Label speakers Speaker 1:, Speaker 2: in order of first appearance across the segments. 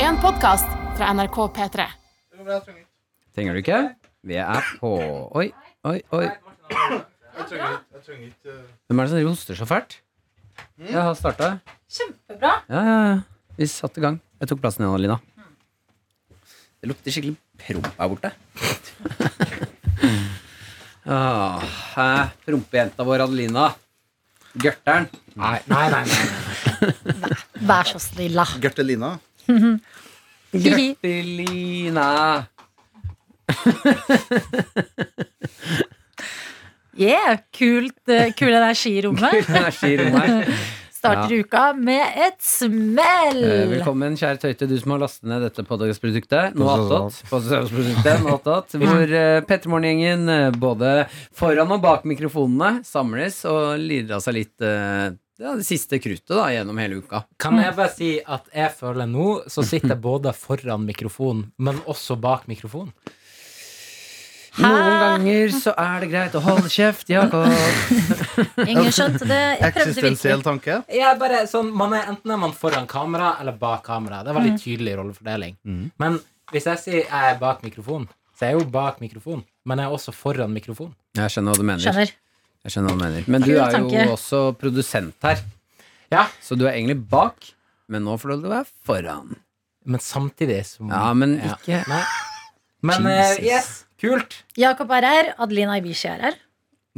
Speaker 1: en podkast fra NRK P3.
Speaker 2: Trenger du ikke? Vi er på Oi, oi, oi. Hvem er det som driver og hoster så fælt? Jeg har starta.
Speaker 3: Kjempebra.
Speaker 2: Ja, ja, ja. Vi satte i gang. Jeg tok plassen din, Alina. Det lukter skikkelig promp her borte. Åh, hæ? Prompejenta Ah, vår Adelina. Gørteren.
Speaker 4: Nei, nei, nei. nei.
Speaker 3: Vær så snill, da.
Speaker 5: Gertelina.
Speaker 3: Hihi.
Speaker 2: Gørtelina.
Speaker 3: Yeah, kult, eh, kul energi i rommet.
Speaker 2: Energi i rommet her.
Speaker 3: Starter uka med et smell.
Speaker 2: Eh, Velkommen, kjære Tøyte, du som har lastet ned dette podkastproduktet. Nå attåt. Podcastproduktet, nå attått, Hvor uh, Pettermorgen-gjengen, eh, både foran og bak mikrofonene, samles og lider av seg litt eh, ja, det siste kruttet da, gjennom hele uka.
Speaker 4: Kan jeg bare si at jeg føler nå så sitter jeg både foran mikrofonen, men også bak mikrofonen.
Speaker 2: Noen ganger så er det greit å holde kjeft, Jakob.
Speaker 3: Ingen skjønte det. Jeg prøvde
Speaker 5: Eksistensiell
Speaker 3: virkelig.
Speaker 5: tanke.
Speaker 4: Jeg er bare sånn, man er, Enten er man foran kamera eller bak kamera. Det er
Speaker 2: Mm.
Speaker 4: veldig tydelig rollefordeling. Men hvis jeg sier jeg er bak mikrofonen, så er jeg jo bak mikrofonen. Men jeg er også foran mikrofonen.
Speaker 2: Jeg skjønner hva du mener.
Speaker 3: Skjønner.
Speaker 2: Jeg skjønner hva du mener. Men du
Speaker 3: Kul
Speaker 2: er jo
Speaker 3: tanke.
Speaker 2: også produsent her,
Speaker 4: Ja,
Speaker 2: så du er egentlig bak. Men nå får du være foran.
Speaker 4: Men samtidig som
Speaker 2: Ja, men
Speaker 4: Ja.
Speaker 2: ikke
Speaker 4: Nei. Men eh,
Speaker 2: Jesus.
Speaker 4: yes, kult.
Speaker 3: Jakob er her. Adelina Ibishi er her.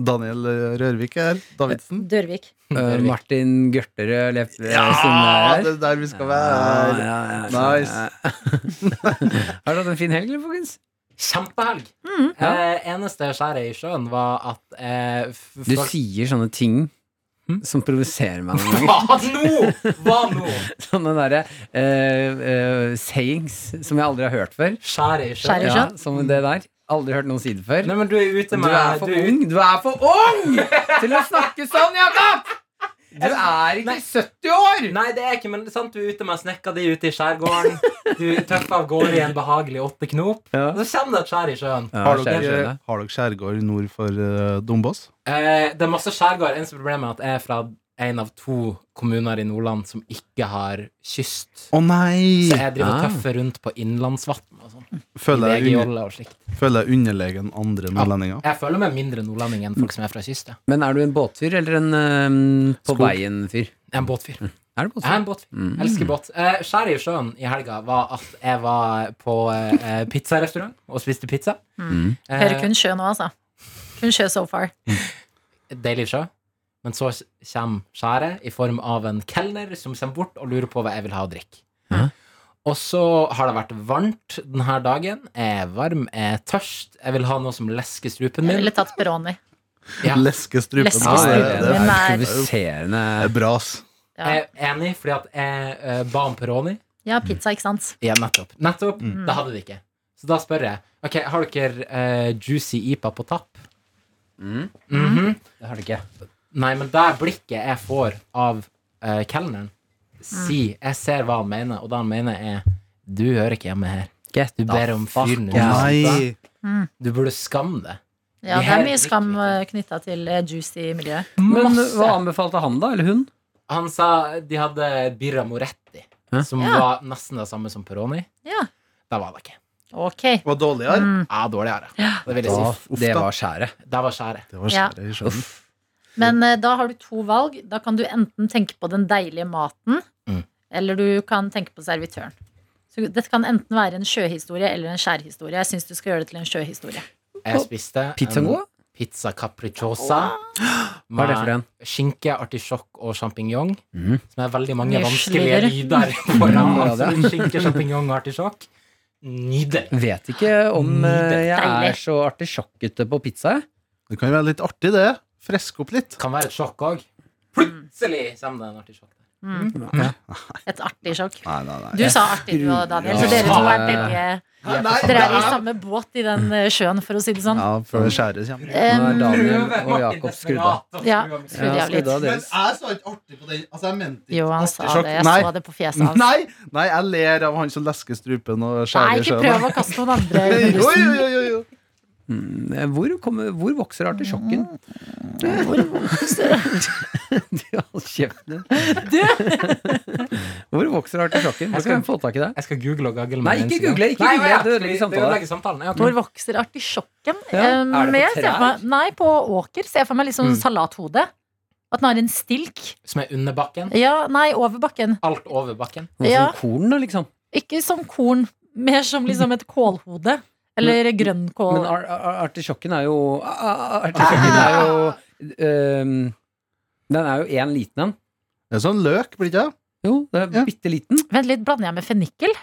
Speaker 5: Daniel eh, Rørvik er her. Davidsen.
Speaker 3: Dørvik.
Speaker 2: Eh, Martin Gørterød eh, Leif
Speaker 5: Ja,
Speaker 2: Sunde
Speaker 5: det
Speaker 2: her.
Speaker 5: er der vi skal være. Nice.
Speaker 2: Har du hatt en fin helg, eller, folkens?
Speaker 4: Kjempehelg.
Speaker 2: Mm. Ja.
Speaker 4: Eh, eneste skjæret i sjøen var at eh, f-
Speaker 2: Du
Speaker 4: folk-
Speaker 2: sier sånne ting som provoserer meg noen ganger.
Speaker 4: Hva nå?! Hva nå?
Speaker 2: Sånne derre eh, eh, sayings som jeg aldri har hørt før.
Speaker 4: Skjæret i
Speaker 3: Skjæret i
Speaker 4: sjøen.
Speaker 2: Ja, som det der. Aldri hørt noen si det før.
Speaker 4: Nei, men du er ute
Speaker 2: Du
Speaker 4: med
Speaker 2: er for ung! Du er for ung til å snakke sånn, Jakob! Du er ikke 70 år!
Speaker 4: Nei, det er ikke, men det er sant, du er ute med snekka di ute i skjærgården. Du tøffer av gårde i en behagelig åtte knop.
Speaker 2: Ja.
Speaker 4: Og så kommer det et skjær i sjøen.
Speaker 5: Har
Speaker 2: skjønner,
Speaker 5: dere,
Speaker 2: skjønner.
Speaker 5: har dere skjærgård nord for eh, Dombås?
Speaker 4: Eh, det er masse skjærgård. Eneste problemet er at jeg er fra en av to kommuner i Nordland som ikke har kyst.
Speaker 5: Å
Speaker 4: Så
Speaker 5: nei!
Speaker 4: jeg driver og
Speaker 2: Ah.
Speaker 4: tøffer rundt på innlandsvann og sånn.
Speaker 5: Føler jeg, under,
Speaker 4: Vegejolle og slikt.
Speaker 5: føler jeg underlegen andre nordlendinger.
Speaker 4: Jeg føler meg mindre nordlending enn folk som er fra kyst. Jeg
Speaker 2: Men er du en båtfyr eller en eh, på
Speaker 4: Skog.
Speaker 2: veien-fyr?
Speaker 4: Jeg er en båtfyr.
Speaker 2: Er du
Speaker 4: Jeg er
Speaker 2: båtfyr? Mm.
Speaker 4: en båtfyr. Elsker båt. Eh, Skjæret i sjøen i helga var at jeg var på eh, pizzarestaurant og spiste pizza. Eh,
Speaker 3: Hører kun sjø nå, altså. Kun sjø so far.
Speaker 4: Deilig sjø. Men så s- kommer skjæret i form av en kelner som kommer bort og lurer på hva jeg vil ha å drikke.
Speaker 2: Hæ?
Speaker 4: Og så har det vært varmt denne dagen. Jeg er varm, jeg er tørst. Jeg vil ha noe som lesker strupen
Speaker 3: Jeg
Speaker 4: min.
Speaker 3: ville tatt Peroni.
Speaker 4: Ja.
Speaker 5: Leske strupen.
Speaker 3: Leske
Speaker 2: Ja,
Speaker 5: Ja,
Speaker 2: det,
Speaker 5: det-
Speaker 2: det
Speaker 3: Men
Speaker 2: er
Speaker 3: er-
Speaker 2: provoserende.
Speaker 5: Det er bra, ass.
Speaker 3: Ja,
Speaker 4: Jeg er enig, fordi at jeg eh, ba om Peroni.
Speaker 3: ja pizza, ikke sant?
Speaker 4: Ja, nettopp. Nettopp.
Speaker 2: Mm.
Speaker 4: Det hadde de ikke. Så da spør jeg Ok, har dere eh, Juicy IPA på tapp.
Speaker 2: Mm.
Speaker 4: Mhm.
Speaker 2: Det har du ikke.
Speaker 4: Nei, men det blikket jeg får av eh, kelneren, si Jeg ser hva han mener, og det han mener, er Du hører ikke hjemme her.
Speaker 2: Get
Speaker 4: Du ber om fyren
Speaker 5: Å
Speaker 4: din.
Speaker 5: nei!
Speaker 4: Du burde skamme deg.
Speaker 3: Ja,
Speaker 4: Vi
Speaker 3: det er
Speaker 4: er
Speaker 3: mye
Speaker 4: riktig.
Speaker 3: skam knytta til eh, juicy miljø.
Speaker 2: Men
Speaker 4: Masse.
Speaker 2: hva anbefalte han, da? Eller hun?
Speaker 4: Han sa de hadde Birra Moretti,
Speaker 2: Hæ?
Speaker 4: som
Speaker 3: Ja.
Speaker 4: var nesten det samme som Peroni.
Speaker 3: Ja.
Speaker 4: Det var det ikke.
Speaker 3: Ok.
Speaker 5: Var dårligere?
Speaker 4: Ja, dårligere. Det vil jeg
Speaker 2: Da,
Speaker 4: si.
Speaker 2: det var skjæret.
Speaker 4: Det var skjæret.
Speaker 5: Det var
Speaker 3: Ja.
Speaker 5: skjæret i sjøen.
Speaker 3: Men eh, da har du to valg. Da kan du enten tenke på den deilige maten,
Speaker 4: Mm.
Speaker 3: eller du kan tenke på servitøren. Så dette kan enten være en sjøhistorie eller en skjærhistorie. Jeg syns du skal gjøre det til en sjøhistorie.
Speaker 4: Jeg spiste
Speaker 2: Pizzaen
Speaker 4: en
Speaker 2: god?
Speaker 4: Pizza capricciosa.
Speaker 2: Hva er det for en?
Speaker 4: Skinke, artisjokk og sjampinjong.
Speaker 2: Mhm.
Speaker 4: Som er veldig mange
Speaker 3: Mye
Speaker 4: vanskelige
Speaker 3: slurv.
Speaker 4: lyder foran.
Speaker 2: Ja, det
Speaker 4: altså,
Speaker 2: er.
Speaker 4: skinke, sjampinjong og artisjokk. Nydelig.
Speaker 2: Vet ikke om eh, jeg
Speaker 3: Deilig.
Speaker 2: er så artisjokkete på pizza. jeg.
Speaker 5: Det kan jo være litt artig, det. Freske opp litt.
Speaker 4: Kan være et sjokk òg. Plutselig kommer det en artisjokk.
Speaker 3: Et artig sjokk.
Speaker 5: Nei, nei, nei.
Speaker 3: Du sa artig, du og Daniel. Så dere to er begge Dere er i samme båt i den eh, sjøen, for å si det sånn.
Speaker 5: Ja, før det skjæret kommer.
Speaker 2: Nå er
Speaker 3: Em,
Speaker 2: Daniel og Jakob skrudd av.
Speaker 3: ja,
Speaker 2: Ja,
Speaker 3: skrudd av
Speaker 2: skrudd
Speaker 3: litt.
Speaker 2: av deres.
Speaker 5: sa ikke artig på den. Altså, jeg mente
Speaker 3: Jo, han sa det. Jeg
Speaker 5: Nei.
Speaker 3: så det på fjeset hans.
Speaker 5: Nei, nei, jeg ler av han som lesker strupen og
Speaker 3: Nei,
Speaker 5: skjærer i
Speaker 3: ikke
Speaker 5: sjøen.
Speaker 3: prøv å kaste noen andre
Speaker 5: Jo,
Speaker 3: under
Speaker 5: jo,
Speaker 3: bussen.
Speaker 5: jo, jo, jo.
Speaker 2: Mm, Hvor, kommer, hvor vokser artisjokken? Mm. Du, hold kjeften din. Hvor vokser artisjokken? Hvor
Speaker 4: Jeg skal-
Speaker 2: skal jeg få tak i det?
Speaker 4: Jeg skal google og gagle.
Speaker 2: Nei,
Speaker 4: med
Speaker 2: ikke
Speaker 4: en gang.
Speaker 2: google, ikke
Speaker 4: Nei,
Speaker 2: google, liksom
Speaker 4: ja,
Speaker 2: du ødelegger
Speaker 4: skal vi-
Speaker 2: samtalen.
Speaker 4: ødelegger samtalen. Ja, ok.
Speaker 3: Hvor vokser artisjokken?
Speaker 2: Mm. Ja,
Speaker 3: Eh,
Speaker 2: er det på
Speaker 3: men jeg ser
Speaker 2: trær?
Speaker 3: for meg- Nei, på åker ser jeg for meg litt sånn
Speaker 2: Mm.
Speaker 3: salathode. At den har en stilk.
Speaker 4: Som er under bakken.
Speaker 3: Ja, nei, over bakken.
Speaker 4: Alt over bakken.
Speaker 2: Noe
Speaker 3: Ja.
Speaker 2: som korn, da, liksom.
Speaker 3: Ikke som korn, mer som liksom et kålhode. Eller
Speaker 2: Men
Speaker 3: grønnkål.
Speaker 2: ar ar artisjokken er jo a- a- Artisjokken er jo øhm, Den er jo én liten en.
Speaker 5: Det er sånn løk, blir det ikke?
Speaker 2: Jo, det er
Speaker 5: Ja.
Speaker 2: bitte liten.
Speaker 3: Vent litt, blander jeg med fennikel?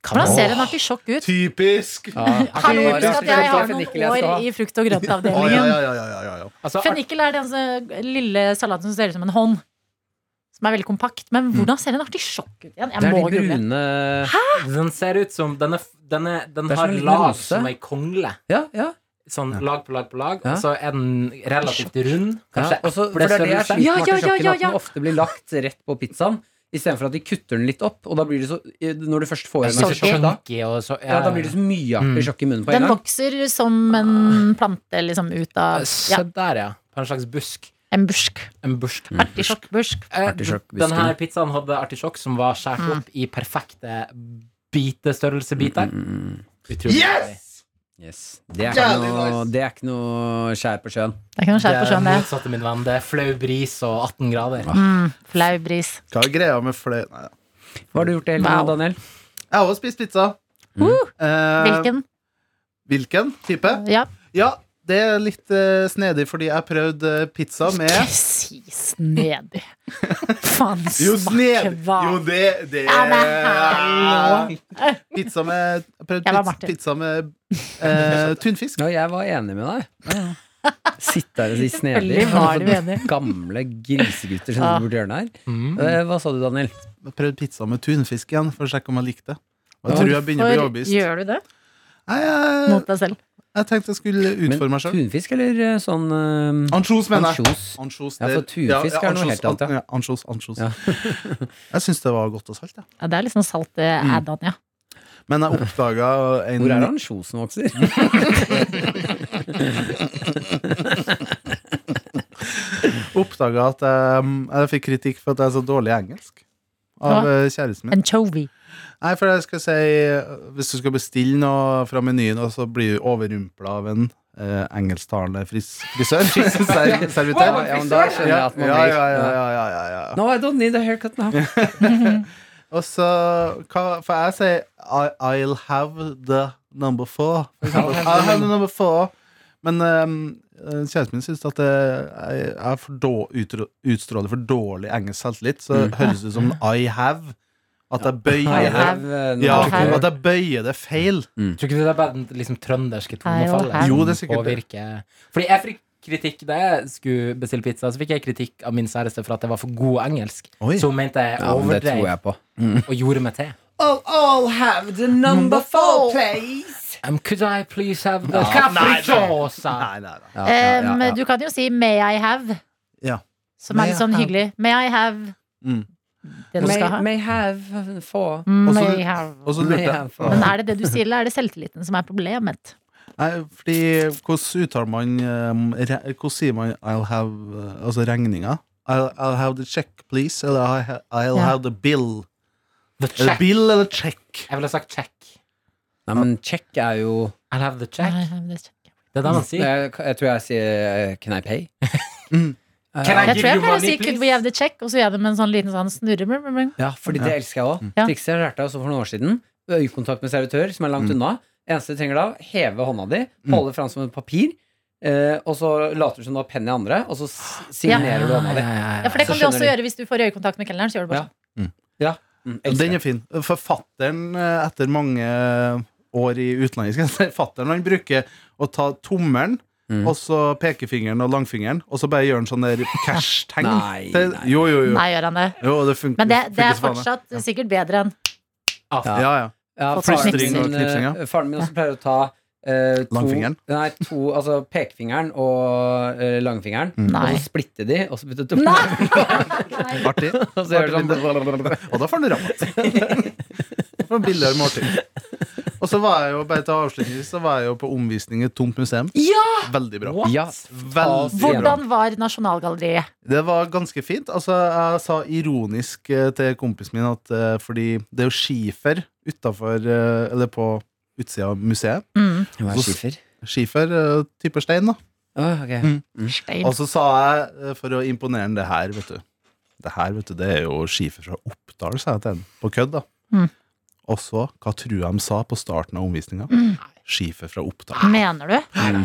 Speaker 3: Hvordan ser en artisjokk ut?
Speaker 5: Typisk! Ja,
Speaker 3: Hallo,
Speaker 5: Fennikel,
Speaker 3: husk at jeg har noen
Speaker 2: Fennikel jeg skal ha.
Speaker 3: år i frukt- og
Speaker 5: ja, ja,
Speaker 3: grøntavdelingen.
Speaker 5: ja, ja, ja, ja.
Speaker 4: Altså, art-
Speaker 3: Fennikel er den altså, lille salaten som ser ut som en hånd. Som er veldig kompakt. Men hvordan ser en artisjokk ut igjen?
Speaker 2: Det
Speaker 3: Jeg
Speaker 2: er
Speaker 3: må
Speaker 2: de
Speaker 3: google.
Speaker 2: brune
Speaker 4: den ser ut som Den, er, f- den, er, den
Speaker 2: Det er som
Speaker 4: har
Speaker 2: en liten
Speaker 4: lag
Speaker 2: rose.
Speaker 4: som ei kongle.
Speaker 2: Ja, ja.
Speaker 4: Sånn lag på lag på lag.
Speaker 2: Ja.
Speaker 4: Og så er den relativt rund.
Speaker 2: ja.
Speaker 4: Kanskje
Speaker 2: Også, for det er det jeg
Speaker 4: eplestørrelse.
Speaker 2: sliter
Speaker 3: Ja,
Speaker 2: med
Speaker 3: ja, ja,
Speaker 2: artisjokken,
Speaker 3: ja,
Speaker 2: at den
Speaker 3: ja.
Speaker 2: ofte blir lagt rett på pizzaen. Istedenfor at de kutter den litt opp. Og da blir det så Når du først får en
Speaker 4: Så
Speaker 2: artisjokk, da,
Speaker 4: chunky og så
Speaker 2: ja, da blir det så mye artisjokk i munnen på en
Speaker 3: Mm. Den
Speaker 2: gang.
Speaker 3: vokser som en plante liksom ut av ja,
Speaker 4: Se der, ja. På en slags busk.
Speaker 3: en busk.
Speaker 4: En busk.
Speaker 3: Mm. Artisjokkbusk.
Speaker 4: Eh,
Speaker 2: Artisjokk,
Speaker 4: Den her
Speaker 2: busken.
Speaker 4: pizzaen hadde artisjokk som var skåret opp i perfekte
Speaker 2: Mm,
Speaker 4: bitestørrelsebiter.
Speaker 3: Mm,
Speaker 4: Utrolig deilig.
Speaker 5: Yes!
Speaker 2: Yes. Det, er ikke
Speaker 5: Jævlig
Speaker 2: noe,
Speaker 5: nice.
Speaker 2: det er ikke noe skjær på sjøen.
Speaker 3: Det kan jo skjære på
Speaker 4: Det er
Speaker 3: sjøen, det.
Speaker 4: motsatte, min venn. Det er flau bris og 18 grader.
Speaker 3: Mm, flau bris.
Speaker 5: Hva er greia med fløy... Nei, ja.
Speaker 2: Hva har du gjort i helgen,
Speaker 3: Wow.
Speaker 2: Daniel?
Speaker 5: Jeg har også spist pizza.
Speaker 3: Uh,
Speaker 5: Eh,
Speaker 3: hvilken?
Speaker 5: Hvilken type?
Speaker 3: Ja.
Speaker 5: Eh, Ja, det er litt eh, snedig fordi jeg har prøvd eh, pizza med
Speaker 3: Ikke si snedig. Faen,
Speaker 5: Jo, snedig!
Speaker 3: smakkeval.
Speaker 5: Jo, det, det
Speaker 3: Ja, men hallo.
Speaker 5: Pizza med Jeg har prøvd
Speaker 3: Jeg var
Speaker 5: pizza,
Speaker 3: Martin.
Speaker 5: pizza med eh, tunfisk.
Speaker 2: Ja, jeg var enig med deg. Sitte her og si snedig.
Speaker 3: Selvfølgelig var du enig. Ah.
Speaker 2: Gamle grisegutter som
Speaker 3: Ja.
Speaker 2: sitter borti hjørnet her.
Speaker 4: Mm.
Speaker 2: Eh, Hva sa du, Daniel?
Speaker 5: Jeg har prøvd pizza med tunfisk igjen for å sjekke om jeg likte det. Og jeg
Speaker 2: Ja,
Speaker 5: tror jeg begynner å bli
Speaker 3: Hvorfor
Speaker 5: overbevist.
Speaker 3: gjør du det
Speaker 5: Nei, jeg,
Speaker 3: mot deg selv?
Speaker 5: jeg tenkte jeg skulle utfordre meg sjøl.
Speaker 2: tunfisk eller eh, sånn eh,
Speaker 5: Ansjos, mener jeg.
Speaker 2: ansjos?
Speaker 5: Ansjos,
Speaker 2: Ja,
Speaker 5: det-
Speaker 2: for tunfisk er noe
Speaker 5: ansjos,
Speaker 2: helt annet, ja.
Speaker 5: an- Ansjos, ansjos.
Speaker 2: Ja.
Speaker 5: jeg syns det var godt og salt, jeg.
Speaker 3: Ja, det er litt sånn salt eh, add-on, ja.
Speaker 5: Men jeg oppdaga en
Speaker 2: Hvor er ansjosen vokser?
Speaker 5: oppdaga at jeg, jeg fikk kritikk for at jeg er så dårlig i engelsk. Av
Speaker 3: Hva?
Speaker 5: eh, kjæresten min.
Speaker 3: Anchovy.
Speaker 5: Nei, for jeg skal si eh, Hvis du skal bestille noe fra menyen, og så blir du overrumpla av en eh, engelsktalende fris frisør Ser-
Speaker 2: Ja,
Speaker 5: Servitør.
Speaker 2: ja, men da skjønner jeg
Speaker 5: Ja,
Speaker 2: at man
Speaker 5: ja,
Speaker 2: blir
Speaker 5: ja, ja, ja, ja, ja.
Speaker 2: No, I don't need a haircut now.
Speaker 5: Og så hva, For jeg sier I, I'll have the number four. For eksempel. I'll have the number four. Men eh, eh, kjæresten min syns at det, jeg, jeg er for då, utro- utstråler for dårlig engelsk selvtillit. Så høres det ut som I have. At jeg
Speaker 2: I
Speaker 5: bøyer det.
Speaker 2: have, eh,
Speaker 5: Ja,
Speaker 2: no
Speaker 3: I have.
Speaker 5: at jeg bøyer det feil.
Speaker 4: Tror ikke det er bare den liksom, trønderske tonefallet
Speaker 3: her.
Speaker 5: Jo, det er
Speaker 4: som
Speaker 5: sikkert det.
Speaker 4: påvirker Fordi jeg fikk kritikk da jeg skulle bestille pizza, så fikk jeg kritikk av min kjæreste for at jeg var for god engelsk.
Speaker 5: Oi.
Speaker 4: Så hun mente
Speaker 2: Ja,
Speaker 4: jeg
Speaker 2: men det
Speaker 4: overdrev
Speaker 2: tror jeg på.
Speaker 4: og gjorde meg til.
Speaker 2: I'll Oh, all have the number four, please.
Speaker 4: Um, could I please have the capricciosa?
Speaker 5: Nei, nei, nei.
Speaker 2: Ja, ja, ja,
Speaker 3: Em,
Speaker 2: ja.
Speaker 3: Du kan jo si 'may I have',
Speaker 5: Ja.
Speaker 3: som
Speaker 5: May
Speaker 3: er litt
Speaker 5: I
Speaker 3: sånn
Speaker 5: have.
Speaker 3: hyggelig. 'May I have'
Speaker 5: Mm.
Speaker 3: det du skal ha. Mm.
Speaker 2: May, may have four.
Speaker 5: Og så-
Speaker 3: May have.
Speaker 5: Og så lurte
Speaker 2: Ja,
Speaker 5: jeg
Speaker 2: for-
Speaker 3: Men er det det du sier, eller er det selvtilliten som er problemet?
Speaker 5: Nei, fordi hvordan uttaler man um, re- Hvordan sier man 'I'll have uh, Altså regninga? I'll, I'll have the check, please. Eller I'll, ha- I'll
Speaker 3: Ja.
Speaker 5: have the bill.
Speaker 4: The
Speaker 5: Er det
Speaker 4: check.
Speaker 5: bill eller check?
Speaker 4: Jeg ville sagt check.
Speaker 2: Nei, men check er jo
Speaker 4: I'll have the check.
Speaker 3: I have the check.
Speaker 4: Det er det man sier.
Speaker 2: jeg, jeg tror jeg sier eh, Can I pay? Eh,
Speaker 4: Can I
Speaker 3: Jeg
Speaker 4: give
Speaker 3: tror jeg
Speaker 4: you
Speaker 3: pleier å
Speaker 4: money,
Speaker 3: si 'could
Speaker 4: please?
Speaker 3: we have the check', og så gjør jeg det med en sånn liten sånn snurre. blum, blum, blum.
Speaker 2: Ja, fordi det elsker jeg òg.
Speaker 3: Ja.
Speaker 2: Trikset jeg lærte også for noen år siden. Øyekontakt med servitør som er langt unna. Eneste du trenger da, heve hånda di, holde fram som et papir, eh, og så later du som du har penn i andre, og så s- signerer du hånda di.
Speaker 3: Ja, for det
Speaker 2: Så
Speaker 3: kan du også
Speaker 2: skjønner
Speaker 3: gjøre hvis du får øyekontakt med kelneren. Så gjør du bare
Speaker 2: Ja.
Speaker 3: sånn.
Speaker 2: Mm, elsker
Speaker 5: Den
Speaker 2: jeg.
Speaker 5: er fin. Forfatteren, eh, etter mange uh, år i utlandet, skal jeg si, forfatteren han bruker å ta tommelen
Speaker 2: Mm.
Speaker 5: og så pekefingeren og langfingeren, og så bare gjør han sånn der cash-tegn.
Speaker 2: Nei,
Speaker 5: Det-
Speaker 2: nei.
Speaker 5: Jo, jo, jo.
Speaker 3: Nei, gjør han det.
Speaker 5: jo det funker,
Speaker 3: Men det, det
Speaker 5: funker
Speaker 3: er
Speaker 5: som faen,
Speaker 3: fortsatt sikkert bedre enn
Speaker 5: Ja, ja. ja.
Speaker 2: Ja,
Speaker 3: Fått
Speaker 2: faren,
Speaker 3: knipsing
Speaker 5: og
Speaker 2: min,
Speaker 5: knipsing, ja.
Speaker 2: eh, faren min også pleier å ta eh, to,
Speaker 5: Langfingeren.
Speaker 2: Nei, to, altså pekefingeren og eh, langfingeren.
Speaker 5: Mm.
Speaker 3: Nei.
Speaker 2: Og så splitte de, og så putte to
Speaker 3: Nei!
Speaker 5: Artig.
Speaker 2: Og så gjør det sånn
Speaker 5: Og da får han rabatt. For billigere måltid. Og så var jeg jo bare til avslutning Så var jeg jo på omvisning i et tomt museum.
Speaker 3: Ja!
Speaker 5: Veldig bra.
Speaker 2: Ja,
Speaker 5: Veldig bra.
Speaker 3: Hvordan var Nasjonalgalleriet?
Speaker 5: Det var ganske fint. Altså, jeg sa ironisk eh, til kompisen min at eh, fordi det er jo skifer utafor eh, Eller på utsida av museet.
Speaker 3: Mm.
Speaker 2: Hva er skifer?
Speaker 5: Skifer, eh, type stein, da.
Speaker 2: Åh, ok.
Speaker 5: Mm. Og så sa jeg, eh, for å imponere han, det her, vet du Det her, vet du, det er jo skifer fra Oppdal, sa jeg til han. På kødd, da.
Speaker 3: Mm.
Speaker 5: Og så, hva tror jeg de sa på starten av omvisninga? Skifer fra Oppdal.
Speaker 3: Mener du?
Speaker 5: Og
Speaker 3: Mm.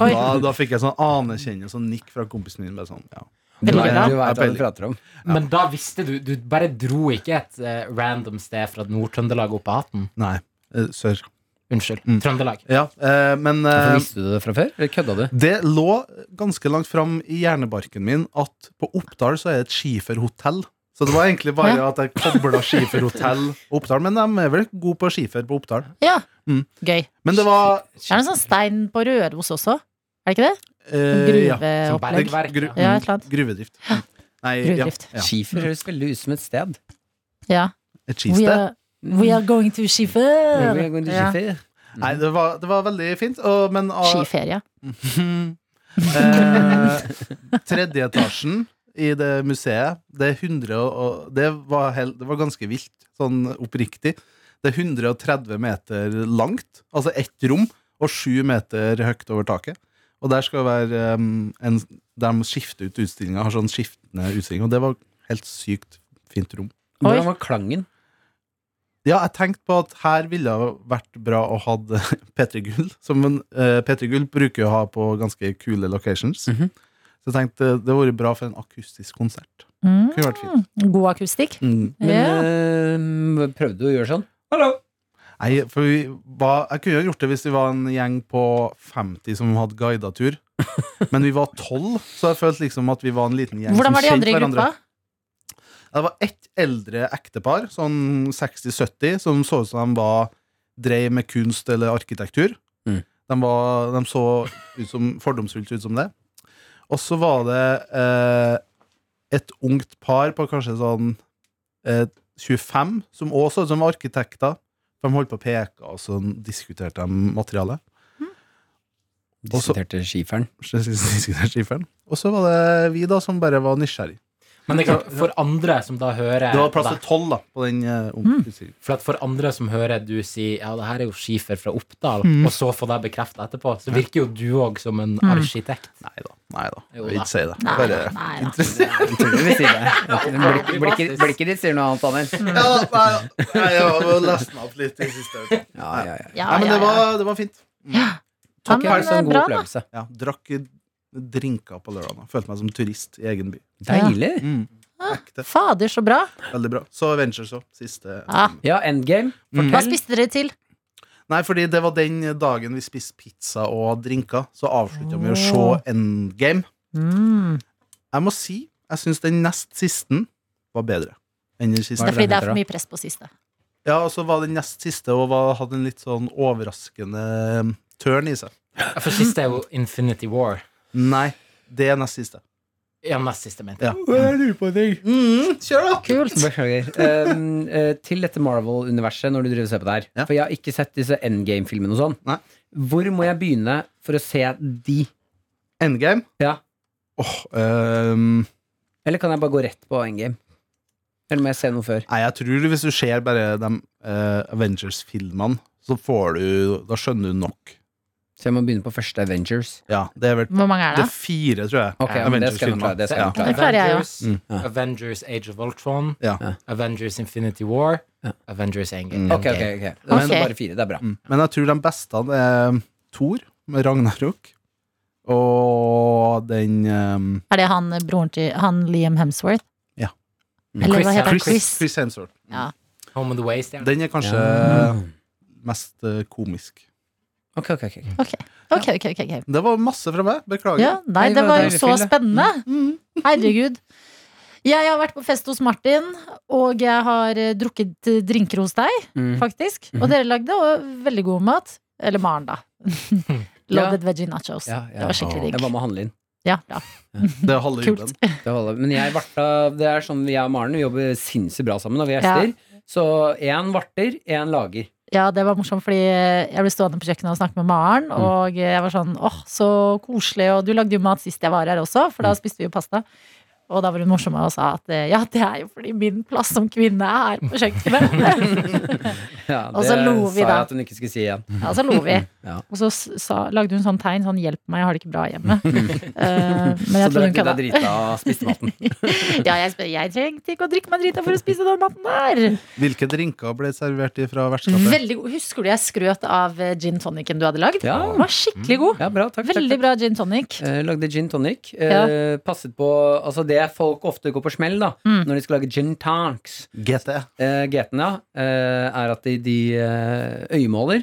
Speaker 3: Oi.
Speaker 5: da, da fikk jeg sånn anerkjennelse og nikk fra kompisen min. Bare sånn, ja.
Speaker 2: Du
Speaker 3: Veldig
Speaker 2: vet
Speaker 3: bra.
Speaker 2: du vet hva du prater om.
Speaker 4: Men da visste du Du bare dro ikke et eh, random sted fra Nord-Trøndelag opp av hatten.
Speaker 5: Nei, eh, sør.
Speaker 4: Unnskyld.
Speaker 5: Mm.
Speaker 4: Trøndelag.
Speaker 5: Ja, eh, men
Speaker 2: Hvorfor
Speaker 5: eh,
Speaker 2: Visste du det fra før? Eller kødda du?
Speaker 5: det lå ganske langt fram i hjernebarken min at på Oppdal så er det et skiferhotell. Så det var egentlig bare
Speaker 3: Ja.
Speaker 5: at jeg kobla skiferhotell og Oppdal. Men de er vel gode på skifer på Oppdal.
Speaker 3: Ja.
Speaker 5: Mm.
Speaker 3: Gøy.
Speaker 5: Men det var
Speaker 3: Det er en sånn stein på Røros også, er det ikke det?
Speaker 5: eh, ja.
Speaker 4: Som
Speaker 3: Gruveopplegg.
Speaker 4: bergverk.
Speaker 5: Gru-
Speaker 4: ja.
Speaker 3: Ja, et eller annet.
Speaker 5: Gruvedrift. Nei,
Speaker 3: Gruvedrift.
Speaker 5: ja. ja.
Speaker 2: Skifer høres veldig ut som et sted.
Speaker 3: Oh, Ja.
Speaker 5: Et
Speaker 3: We
Speaker 5: skisted.
Speaker 3: are, we are going to
Speaker 2: Hvor
Speaker 3: skifer.
Speaker 2: er det
Speaker 3: Eh, Ja.
Speaker 2: skifer?
Speaker 5: Nei, det var, det var veldig fint. Og, men av-
Speaker 3: Skiferie.
Speaker 5: eh, tredje etasjen i det museet, det er 100 og, det, var hel- det var ganske vilt, sånn oppriktig. Det er 130 meter langt, altså ett rom, og sju meter høyt over taket. Og der skal være em, en, der de skifter ut utstillinga, har sånn skiftende utstilling, og det var helt sykt fint rom.
Speaker 2: Hvordan var klangen?
Speaker 5: Ja, jeg tenkte på at her ville det vært bra å ha P3 Gull. Som en, eh, P3 Gull bruker jo å ha på ganske kule locations.
Speaker 2: Mhm.
Speaker 5: Så jeg tenkte eh, det hadde vært bra for en akustisk konsert.
Speaker 3: Mm.
Speaker 5: Det kunne vært fint. Mm.
Speaker 3: God akustikk.
Speaker 2: Men
Speaker 3: Ja.
Speaker 2: eh, prøvde du å gjøre sånn? Hallo!
Speaker 5: Nei, for vi var, Jeg kunne jo gjort det hvis vi var en gjeng på 50 som hadde guida tur. Men vi var 12, så jeg følte liksom at vi var en liten gjeng
Speaker 3: Hvordan
Speaker 5: som
Speaker 3: var de
Speaker 5: kjente
Speaker 3: andre i
Speaker 5: hverandre.
Speaker 3: gruppa?
Speaker 5: Ja, Det var ett eldre ektepar, sånn 60-70, som så ut som de var drev med kunst eller arkitektur.
Speaker 2: Mm.
Speaker 5: De, var, de så ut som, fordomsfullt ut som det. Og så var det eh, et ungt par på kanskje sånn eh, 25, som også så ut som var arkitekter. De holdt på å peke, og så diskuterte de materialet.
Speaker 2: Diskuterte skiferen.
Speaker 5: Så diskuterte skiferen. Og så var det vi da som bare var nysgjerrig.
Speaker 4: Men det er klart, for andre som da hører
Speaker 5: Det var plass
Speaker 4: deg-
Speaker 5: til tolv da, på den eh, unge utstillingen.
Speaker 4: For at for andre som hører du si Ja, det her er jo skifer fra Oppdal,
Speaker 5: Mm.
Speaker 4: og så får deg bekreftet etterpå, så virker jo du òg som en arkitekt.
Speaker 5: Nei da. Nei da.
Speaker 4: Jo
Speaker 5: Jeg vil
Speaker 4: da.
Speaker 5: ikke si det.
Speaker 3: Nei,
Speaker 5: Bare
Speaker 3: nei da.
Speaker 5: interessert.
Speaker 2: Naturligvis sier det. Blikket- Blikket blikket ditt sier noe annet, Daniel.
Speaker 5: Ja, nei, nei, jeg har lest den opp litt i siste øyeblikk.
Speaker 2: Ja, ja, ja.
Speaker 3: Ja,
Speaker 5: Nei, men
Speaker 3: ja,
Speaker 5: det
Speaker 3: ja.
Speaker 5: var, det var fint.
Speaker 3: Ja,
Speaker 2: Takk for en sånn
Speaker 3: men eh,
Speaker 2: god
Speaker 3: bra, da.
Speaker 2: opplevelse.
Speaker 5: Ja, drakk drinker på lørdag. Følte meg som turist i egen by.
Speaker 2: Deilig.
Speaker 5: Ekte.
Speaker 3: Fader, så bra.
Speaker 5: Veldig bra. Så Ventures òg. Siste. Mm.
Speaker 3: Ja.
Speaker 2: Ja, endgame.
Speaker 3: Hva
Speaker 2: Fortell.
Speaker 3: spiste dere til?
Speaker 5: Nei, fordi det var den dagen vi spiste pizza og drinker. Så avslutta vi å se Endgame.
Speaker 3: Mm.
Speaker 5: Jeg må si jeg syns den nest siste var bedre enn den
Speaker 3: Det
Speaker 5: siste.
Speaker 3: er fordi det er
Speaker 2: heter,
Speaker 3: for mye press på siste.
Speaker 5: Ja, og så var den nest siste og var, hadde en litt sånn overraskende tørn i seg.
Speaker 4: Ja, For siste er jo Infinity War.
Speaker 5: Nei, det er nest siste.
Speaker 4: Ja, nest siste, mente jeg.
Speaker 5: Ja.
Speaker 2: Mm,
Speaker 5: kjør, da!
Speaker 2: Kult. Beklager. Um, eh, til dette Marvel-universet, når du driver og ser på det her.
Speaker 5: Ja.
Speaker 2: For jeg har ikke sett disse Endgame-filmene og sånn.
Speaker 5: Nei.
Speaker 2: Hvor må jeg begynne for å se de?
Speaker 5: Endgame. Ehm,
Speaker 2: Ja.
Speaker 5: Åh, øhm,
Speaker 2: Eller kan jeg bare gå rett på Endgame? Eller må jeg se noe før?
Speaker 5: nei, jeg tror hvis du ser bare de eh, Avengers-filmene, så får du Da skjønner du nok.
Speaker 2: Så jeg må begynne på første Avengers.
Speaker 5: Ja, det er vel
Speaker 3: Hvor mange er
Speaker 5: Det
Speaker 3: det?
Speaker 5: er fire, tror jeg.
Speaker 2: Ok, ja, men det skal jeg nok klare. Det skal jeg nok
Speaker 3: Ja.
Speaker 2: klare.
Speaker 3: Det klarer jeg, ja.
Speaker 4: Avengers,
Speaker 5: Mm.
Speaker 2: Ja.
Speaker 4: Avengers Age of Ultron,
Speaker 5: Ja.
Speaker 2: Ja.
Speaker 4: Avengers Infinity War,
Speaker 2: Ja.
Speaker 4: Avengers Endgame.
Speaker 5: Mm.
Speaker 2: Ok, ok, ok. Da er det
Speaker 3: Ok.
Speaker 2: bare fire. Det er bra.
Speaker 5: Mm. Men jeg tror de beste er Thor med Ragnarok. Og den ehm,
Speaker 3: Er det han eh, broren til han Liam Hemsworth?
Speaker 5: Ja.
Speaker 3: Eller hva heter han?
Speaker 4: Chris-
Speaker 3: Chris?
Speaker 5: Chris Hemsworth.
Speaker 3: Ja.
Speaker 4: Home and Away, stjerne.
Speaker 5: Den er kanskje
Speaker 2: Ja.
Speaker 5: mest eh, komisk.
Speaker 2: Ok, ok, ok. ok.
Speaker 3: Ok, ok, ok. ok.
Speaker 5: Det var masse fra meg. Beklager. Mm.
Speaker 3: Ja, nei,
Speaker 2: Nei,
Speaker 3: det
Speaker 2: det var
Speaker 3: var jo
Speaker 2: deilig
Speaker 3: så
Speaker 2: fyll, det.
Speaker 3: spennende. Herregud. Jeg har vært på fest hos Martin, og jeg har eh, drukket eh, drinker hos deg,
Speaker 2: Mm.
Speaker 3: faktisk. Og dere lagde og veldig god mat. Eller Maren, da. Loaded veggie nachos.
Speaker 2: Ja, ja.
Speaker 3: Det var skikkelig
Speaker 2: Jeg
Speaker 3: digg.
Speaker 2: var med å handle inn.
Speaker 3: Ja, bra.
Speaker 5: Det er halve
Speaker 3: Kult.
Speaker 5: jobben.
Speaker 2: Det holder. Men jeg varta Det er sånn jeg og Maren vi jobber sinnssykt bra sammen når vi er
Speaker 3: Ja.
Speaker 2: gjester. Så én varter, én lager.
Speaker 3: Ja, det var morsomt, fordi eh, jeg ble stående på kjøkkenet og snakke med Maren.
Speaker 2: Mm.
Speaker 3: Og jeg var sånn åh, så koselig. Og du lagde jo mat sist jeg var her også, for da
Speaker 2: Mm.
Speaker 3: spiste vi jo pasta. Og da var hun morsom og sa at eh, ja, det er jo fordi min plass som kvinne er på kjøkkenet.
Speaker 2: Ja,
Speaker 3: Og så
Speaker 2: det
Speaker 3: lo vi
Speaker 2: sa
Speaker 3: da.
Speaker 2: jeg at hun ikke skulle si igjen.
Speaker 3: ja, så lo vi.
Speaker 2: Ja.
Speaker 3: Og så s- sa, lagde hun sånn tegn sånn hjelp meg, jeg har det ikke bra hjemme. Eh, men
Speaker 2: Så
Speaker 3: jeg tror
Speaker 2: drakk du deg
Speaker 3: hun kan
Speaker 2: drita og spiste maten.
Speaker 3: Ja, jeg, spør, jeg trengte ikke å drikke meg drita for å spise den maten der.
Speaker 5: Hvilke drinker ble servert fra vertskapet?
Speaker 3: Veldig god. Husker du jeg skrøt av eh, gin tonicen du hadde lagd?
Speaker 2: Ja. Mm.
Speaker 3: Den var skikkelig god.
Speaker 2: Ja, bra, takk, takk,
Speaker 3: Veldig
Speaker 2: takk.
Speaker 3: bra gin tonic.
Speaker 2: Eh, lagde gin tonic. Eh,
Speaker 3: Ja.
Speaker 2: Passet på Altså det folk ofte går på smell da når de skal lage gin tanks.
Speaker 5: GT.
Speaker 2: Eh, GT-en, ja, eh, er at de, de eh, øyemåler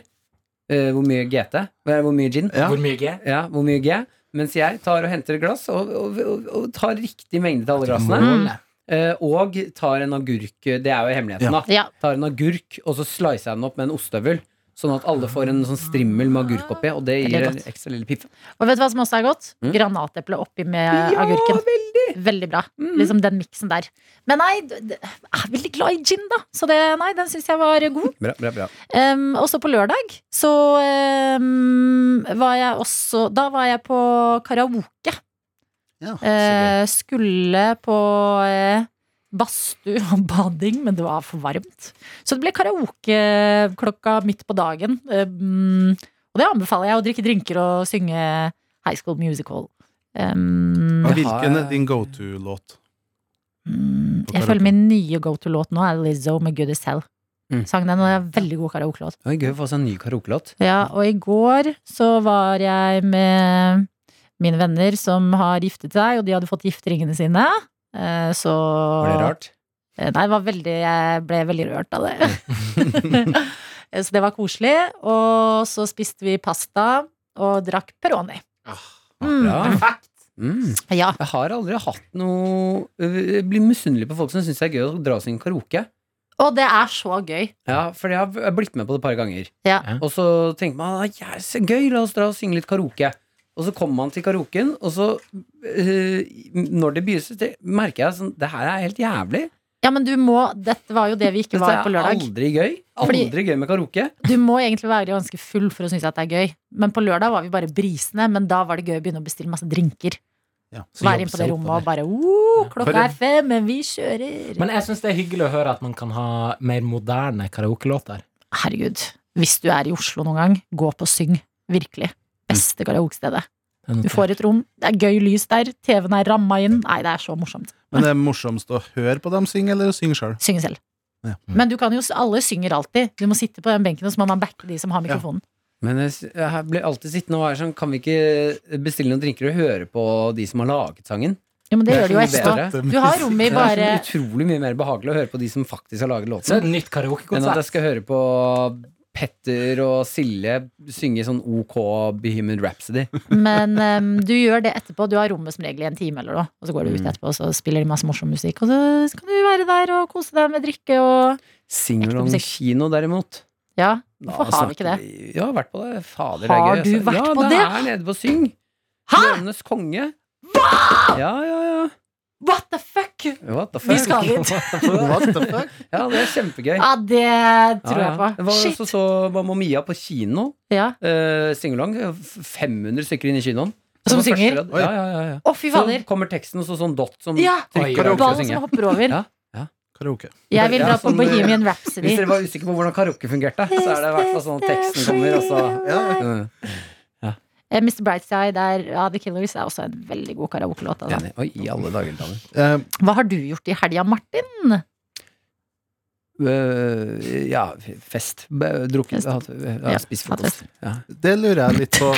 Speaker 2: eh, hvor mye GT eh, Hvor mye gin.
Speaker 5: Ja.
Speaker 4: Hvor mye G?
Speaker 2: Ja, hvor mye G. Mens jeg tar og henter et glass og, og, og, og tar riktig mengde til alle glassene.
Speaker 3: Mm.
Speaker 2: Eh, og tar en agurk Det er jo hemmeligheten, da.
Speaker 3: Ja.
Speaker 2: Tar en agurk, og så slicer jeg den opp med en ostehøvel. Sånn at alle får en sånn strimmel med agurk oppi, og det
Speaker 3: Veldig
Speaker 2: gir en
Speaker 3: godt.
Speaker 2: ekstra lille piff.
Speaker 3: Og vet du hva som også er godt?
Speaker 2: Mm.
Speaker 3: Granateple oppi med Eh, agurken. Veldig, bra. Liksom den miksen der. Men nei, d- d- jeg er veldig glad i gin, da. Så det, nei, den syns jeg var god.
Speaker 2: Bra, bra, bra.
Speaker 3: Um, og så på lørdag så um, var jeg også Da var jeg på karaoke.
Speaker 5: Ja, så
Speaker 3: Eh, skulle på eh, badstue og bading, men det var for varmt. Så det ble karaoke klokka midt på dagen. Eh, mm, og det anbefaler jeg. Å drikke drinker og synge High School Musical. Um,
Speaker 5: Og
Speaker 2: Jeg har-
Speaker 5: Hvilken er din go to-låt?
Speaker 3: mm,
Speaker 5: på
Speaker 3: jeg
Speaker 5: karaoke.
Speaker 3: føler min nye go to-låt nå er Lizzo med Good As Hell.
Speaker 2: Mm.
Speaker 3: Sang den, og det er en veldig god karaoke-låt.
Speaker 2: Det var gøy å få seg en ny karaokelåt.
Speaker 3: Ja, og i går så var jeg med mine venner som har giftet seg, og de hadde fått gifteringene sine. Eh, Så
Speaker 2: Var det rart?
Speaker 3: Eh, Nei, det var veldig, jeg ble veldig rørt av det. Eh, så det var koselig. Og så spiste vi pasta og drakk Peroni. Mm.
Speaker 2: Bra.
Speaker 4: Perfekt!
Speaker 2: Mm.
Speaker 3: Ja.
Speaker 2: Jeg har aldri hatt noe Jeg blir misunnelig på folk som syns det er gøy å dra sin karaoke.
Speaker 3: Og det er så gøy.
Speaker 2: Ja, for jeg har jeg har blitt med på det et par ganger.
Speaker 3: Ja.
Speaker 2: Og så tenker man at yes, gøy, la oss dra og synge litt karaoke. Og så kommer man til karaoken, og så, eh, når det begynner, så te- merker jeg sånn Det her er helt jævlig.
Speaker 3: ja, men du må Dette var jo det vi ikke
Speaker 2: Dette
Speaker 3: var på
Speaker 2: er
Speaker 3: lørdag.
Speaker 2: aldri gøy. Aldri
Speaker 3: Fordi-
Speaker 2: gøy med karaoke.
Speaker 3: Du må egentlig være ganske full for å synes at det er gøy. Men på lørdag var vi bare brisende, men da var det gøy å begynne å bestille masse drinker.
Speaker 5: Ja,
Speaker 3: Være inne på det rommet og bare oh, Klokka
Speaker 5: Bare-
Speaker 3: er fem, men vi kjører.
Speaker 4: Men jeg syns det er hyggelig å høre at man kan ha mer moderne karaokelåter.
Speaker 3: Herregud. Hvis du er i Oslo noen gang, gå på Syng. Virkelig. Beste karaokestedet. Du får et rom, det er gøy lys der, TV-en er ramma inn. Nei, det er så morsomt.
Speaker 5: Men det er morsomst å høre på dem synge, eller å synge sjøl?
Speaker 3: Synge selv.
Speaker 5: Ja.
Speaker 2: Mm.
Speaker 3: Men du kan jo, alle synger alltid. Du må sitte på den benken, og så må man backe de som har mikrofonen.
Speaker 2: Men jeg, s- jeg blir alltid sittende og være sånn Kan vi ikke bestille noen drinker og høre på de som har laget sangen?
Speaker 3: Ja, men det
Speaker 2: Det er
Speaker 3: gjør du jo
Speaker 2: mye
Speaker 3: etterpå.
Speaker 2: bedre.
Speaker 3: Du har rommet i
Speaker 2: Det er
Speaker 3: bare
Speaker 2: så utrolig mye mer behagelig å høre på de som faktisk har laget
Speaker 4: Så er
Speaker 2: låten,
Speaker 4: det et
Speaker 2: enn
Speaker 4: nytt
Speaker 2: at jeg
Speaker 4: karaokekonsept.
Speaker 2: skal høre på Petter og Silje synge sånn OK Bohemian Rhapsody.
Speaker 3: Men em, du gjør det etterpå. Du har rommet som regel i en time eller noe. Og så
Speaker 2: Mm.
Speaker 3: går du ut etterpå, og så spiller de masse morsom musikk. Og så kan du være der og kose deg med drikke og
Speaker 2: Singalong
Speaker 3: musikk.
Speaker 2: kino, derimot.
Speaker 3: Ja,
Speaker 2: da
Speaker 3: hvorfor har vi
Speaker 2: snakker
Speaker 3: ikke det?
Speaker 2: vi- Ja, jeg har vært på det. Fader, det er
Speaker 3: Har
Speaker 2: gøy.
Speaker 3: du
Speaker 2: altså.
Speaker 3: vært
Speaker 2: ja,
Speaker 3: på
Speaker 2: Ja,
Speaker 3: det?
Speaker 2: det er nede på Syng.
Speaker 3: Hæ?!
Speaker 2: Løvenes konge. Ja, ja, ja.
Speaker 3: What the fuck?!
Speaker 2: What the fuck?
Speaker 3: Vi skal dit!
Speaker 5: What the fuck?
Speaker 2: Ja, det er kjempegøy.
Speaker 3: Ja, det tror
Speaker 2: Ja, ja.
Speaker 3: jeg på.
Speaker 2: Det var
Speaker 3: Shit!
Speaker 2: også så Mamma Mia på kino.
Speaker 3: Ja.
Speaker 2: Uh, Singalong. 500 stykker inn i kinoen.
Speaker 3: Som
Speaker 2: Det var
Speaker 3: synger?
Speaker 2: første rad. Ja, ja, ja, ja.
Speaker 3: Å, fy
Speaker 2: Så
Speaker 3: fader.
Speaker 2: kommer teksten og så sånn dot som
Speaker 3: Ja!
Speaker 2: trykker
Speaker 4: Oi,
Speaker 2: og skal
Speaker 3: Ballen som
Speaker 2: synge.
Speaker 3: hopper over.
Speaker 2: Ja.
Speaker 5: Karaoke.
Speaker 3: Jeg vil
Speaker 2: Ja,
Speaker 3: dra på
Speaker 2: sånn,
Speaker 3: Bohemian
Speaker 2: Hvis
Speaker 3: Rhapsody.
Speaker 2: dere var usikre på hvordan karaoke fungerte, så er det i hvert fall sånn at teksten kommer, og så
Speaker 5: Ja.
Speaker 2: Mm,
Speaker 3: Eh, Mr. Brightside er ja, The Killers er også en veldig god karaokelåt. Altså.
Speaker 2: enig. Oi, i alle dager, Daniel.
Speaker 5: Eh,
Speaker 3: Hva har du gjort i helga, Martin?
Speaker 2: Øh, ja, fest. B- Drukket.
Speaker 3: Fest.
Speaker 2: Hatt, ja,
Speaker 3: Ja,
Speaker 2: spist
Speaker 3: hatt
Speaker 2: frokost. Ja.
Speaker 5: det lurer jeg litt på.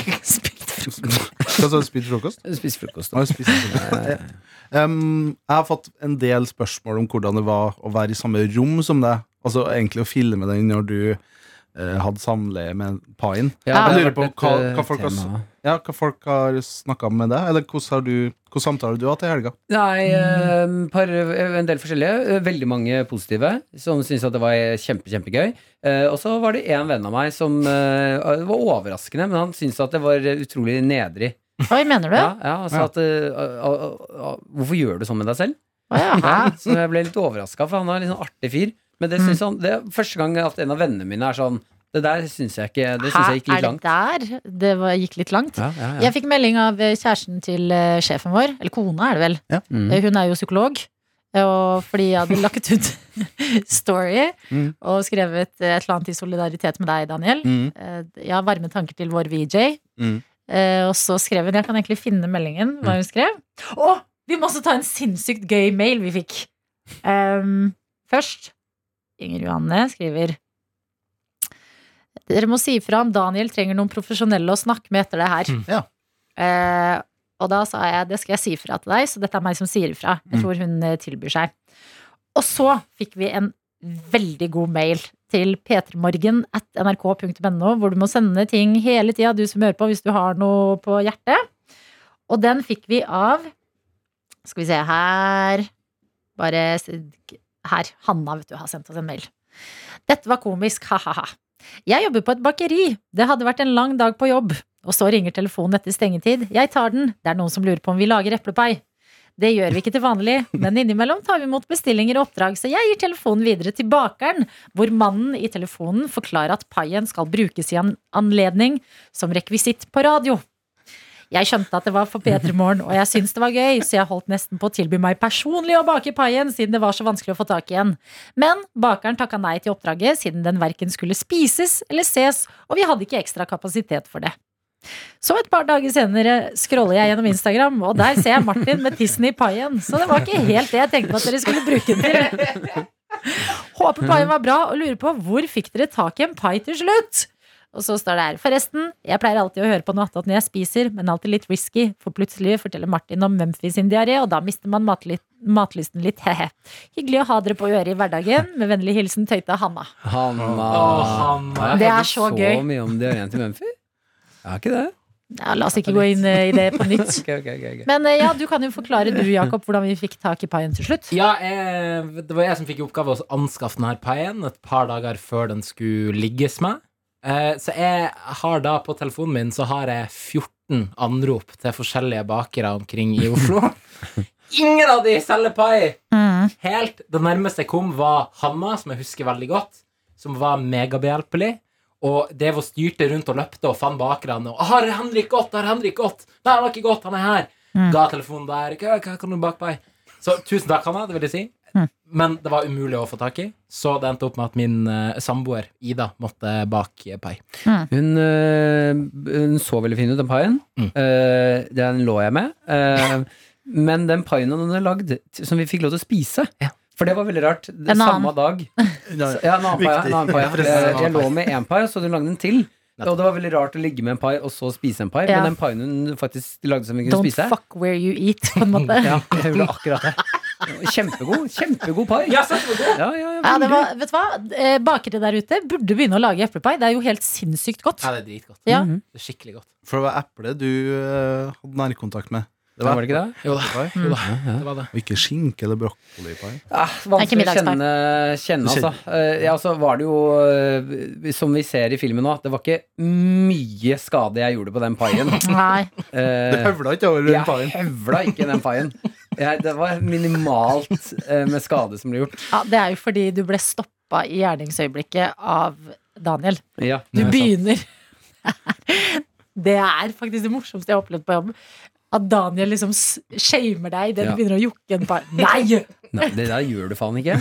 Speaker 5: Hva sa du, spist frokost?
Speaker 2: Spist frokost.
Speaker 5: Har du spist frokost? Um, jeg har fått en del spørsmål om hvordan det var å være i samme rom som deg. Altså egentlig å filme den når du eh, hadde samleie med paien. jeg
Speaker 3: Ja,
Speaker 2: det har
Speaker 5: lurer på
Speaker 2: vært
Speaker 5: hva,
Speaker 2: et, øh,
Speaker 5: hva folk har,
Speaker 2: tema.
Speaker 5: ja, hva folk har snakka med deg, eller hvordan har du, hvordan samtaler du har hatt i helga?
Speaker 2: Nei,
Speaker 3: Mm.
Speaker 2: eh, par, eh, en del forskjellige. Eh, Veldig mange positive som syntes at det var kjempe, kjempegøy. Eh, Og så var det en venn av meg som eh, Det var overraskende, men han syntes at det var utrolig nedrig.
Speaker 3: Oi, mener du?
Speaker 2: Ja, ja, han sa
Speaker 5: Ja.
Speaker 2: at eh, ah, ah, ah, Hvorfor gjør du sånn med deg selv?
Speaker 3: Å, Ah, ja.
Speaker 2: Ja, så
Speaker 3: Mm.
Speaker 2: jeg ble litt overraska, for han er en litt sånn artig fyr. Men det, synes han, det er første gang at en av vennene mine er sånn Det der syns jeg ikke Det syns
Speaker 3: Hæ,
Speaker 2: jeg gikk litt
Speaker 3: er
Speaker 2: langt.
Speaker 3: det der det var, gikk litt langt?
Speaker 2: Ja, ja, ja.
Speaker 3: Jeg fikk melding av eh, kjæresten til eh, sjefen vår, eller kona er det vel.
Speaker 2: Mm.
Speaker 3: Eh, Hun er jo psykolog. Og fordi jeg hadde lagt ut story
Speaker 5: Mm.
Speaker 3: og skrevet eh, et eller annet i solidaritet med deg, Daniel.
Speaker 5: Mm.
Speaker 3: Eh, Jeg har varme tanker til vår VJ.
Speaker 5: Mm.
Speaker 3: Eh, Og så skrev hun Jeg kan egentlig finne meldingen, hva hun skrev. Å! Vi må også ta en sinnssykt gøy mail vi fikk. Ehm, først Inger Johanne skriver Dere må si ifra om Daniel trenger noen profesjonelle å snakke med etter det her.
Speaker 4: Mm.
Speaker 5: Ja.
Speaker 3: Eh, og da sa jeg det skal jeg si ifra til deg, så dette er meg som sier ifra. Jeg
Speaker 5: Mm.
Speaker 3: tror hun eh, tilbyr seg. Og så fikk vi en veldig god mail til p3morgen at nrk.no, hvor du må sende ting hele tida, du som hører på, hvis du har noe på hjertet. Og den fikk vi av Skal vi se her Bare s- Her. Hanna, vet du, har sendt oss en mail. Dette var komisk, ha-ha-ha. Jeg jobber på et bakeri. Det hadde vært en lang dag på jobb. Og så ringer telefonen etter stengetid. Jeg tar den. Det er noen som lurer på om vi lager eplepai. Det gjør vi ikke til vanlig, men innimellom tar vi imot bestillinger og oppdrag, så jeg gir telefonen videre til bakeren, hvor mannen i telefonen forklarer at paien skal brukes i en anledning som rekvisitt på radio. Jeg skjønte at det var for P3 Morgen, og jeg syntes det var gøy, så jeg holdt nesten på å tilby meg personlig å bake paien, siden det var så vanskelig å få tak i en. Men bakeren takka nei til oppdraget, siden den verken skulle spises eller ses, og vi hadde ikke ekstra kapasitet for det. Så et par dager senere scroller jeg gjennom Instagram, og der ser jeg Martin med tissen i paien, så det var ikke helt det jeg tenkte at dere skulle bruke den til. Håper paien var bra, og lurer på hvor fikk dere tak i en pai til slutt? Og så står det her, forresten, jeg pleier alltid å høre på noe attåt når jeg spiser, men alltid litt risky, for plutselig forteller Martin om Memphis sin diaré, og da mister man matly matlysten litt, hehe. Hyggelig å ha dere på øret i hverdagen, med vennlig hilsen Tøyte Hanna.
Speaker 2: Hanna.
Speaker 4: Å, Hanna.
Speaker 2: ah. Jeg
Speaker 3: Det er
Speaker 2: hørte
Speaker 3: så gøy.
Speaker 2: Så mye om diareen til Mumphy. Jeg har ikke det.
Speaker 3: Ja, la oss ikke gå inn eh, i det på nytt.
Speaker 2: Ok, ok, ok, ok.
Speaker 3: Men eh, ja, du kan jo forklare du, Jakob, hvordan vi fikk tak i paien til slutt.
Speaker 4: Ja, jeg, det var jeg som fikk i oppgave å anskaffe denne paien et par dager før den skulle ligges med. Eh, så jeg har da på telefonen min så har jeg 14 anrop til forskjellige bakere omkring i Oslo. Ingen av de selger pai!
Speaker 3: Mm.
Speaker 4: Helt Det nærmeste jeg kom, var Hanna, som jeg husker veldig godt, som var megabehjelpelig. Og Devo styrte rundt og løpte og fant bakerne. Og 'Har Henrik gått? Har Henrik gått?' 'Nei, han har ikke gått. Han er her.' Ga telefonen der. «Hva- hva kan du bake pai?' Så tusen takk, Hanna. Det vil jeg si. Men det var umulig å få tak i, så det endte opp med at min eh, samboer Ida måtte bake pai.
Speaker 2: Hun, øh, hun så veldig fin ut, den paien.
Speaker 3: Mm.
Speaker 2: Eh, den lå jeg med. Eh, men den paien hun hadde lagd, t- som vi fikk lov til å spise For det var veldig rart. Det-
Speaker 3: En annen.
Speaker 2: Samme dag.
Speaker 5: Ja,
Speaker 2: Ja, en annen pai. En annen pai.
Speaker 5: Viktig.
Speaker 2: Jeg, jeg lå med én pai, og så hadde hun lagd en til. Og det var veldig rart å ligge med en pai og så spise en pai,
Speaker 3: Ja.
Speaker 2: men den paien hun faktisk lagde som vi kunne
Speaker 3: Don't
Speaker 2: spise
Speaker 3: fuck where you eat, på en måte.
Speaker 2: Ja, jeg gjorde akkurat det. Kjempegod. Kjempegod pai.
Speaker 4: Ja, så det var godt.
Speaker 2: Ja, ja, ja,
Speaker 3: Ja, det
Speaker 2: veldig.
Speaker 3: var, vet du hva? Eh, Bakere der ute burde begynne å lage eplepai. Det er jo helt sinnssykt godt.
Speaker 4: Ja, det er dritgodt.
Speaker 3: Ja.
Speaker 4: Det er skikkelig godt.
Speaker 5: For det var eplet du eh, hadde nærkontakt med.
Speaker 2: Ja, var det ikke det?
Speaker 4: Jo da,
Speaker 5: eplepai.
Speaker 4: jo da. Det var det.
Speaker 5: Og ikke skinke eller brokkolipai.
Speaker 2: Ah,
Speaker 3: ikke
Speaker 2: vanskelig å
Speaker 3: middagspai.
Speaker 2: kjenne, kjenne altså. Eh, ja, så var det jo, eh, som vi ser i filmen nå, det var ikke mye skade jeg gjorde på den paien.
Speaker 3: Nei.
Speaker 5: Det
Speaker 2: Eh,
Speaker 5: høvla ikke over
Speaker 2: jeg
Speaker 5: den paien.
Speaker 2: høvla ikke den paien. Jeg, det var minimalt eh, med skade som ble gjort.
Speaker 3: Ja, det er jo fordi du ble stoppa i gjerningsøyeblikket av Daniel.
Speaker 2: Ja.
Speaker 3: Du
Speaker 4: Nei, sant.
Speaker 3: begynner Det er faktisk det morsomste jeg har opplevd på jobb. At Daniel liksom s- shamer deg idet
Speaker 2: Ja.
Speaker 3: du begynner å jokke en par Nei!
Speaker 2: Nei, det der gjør du faen ikke.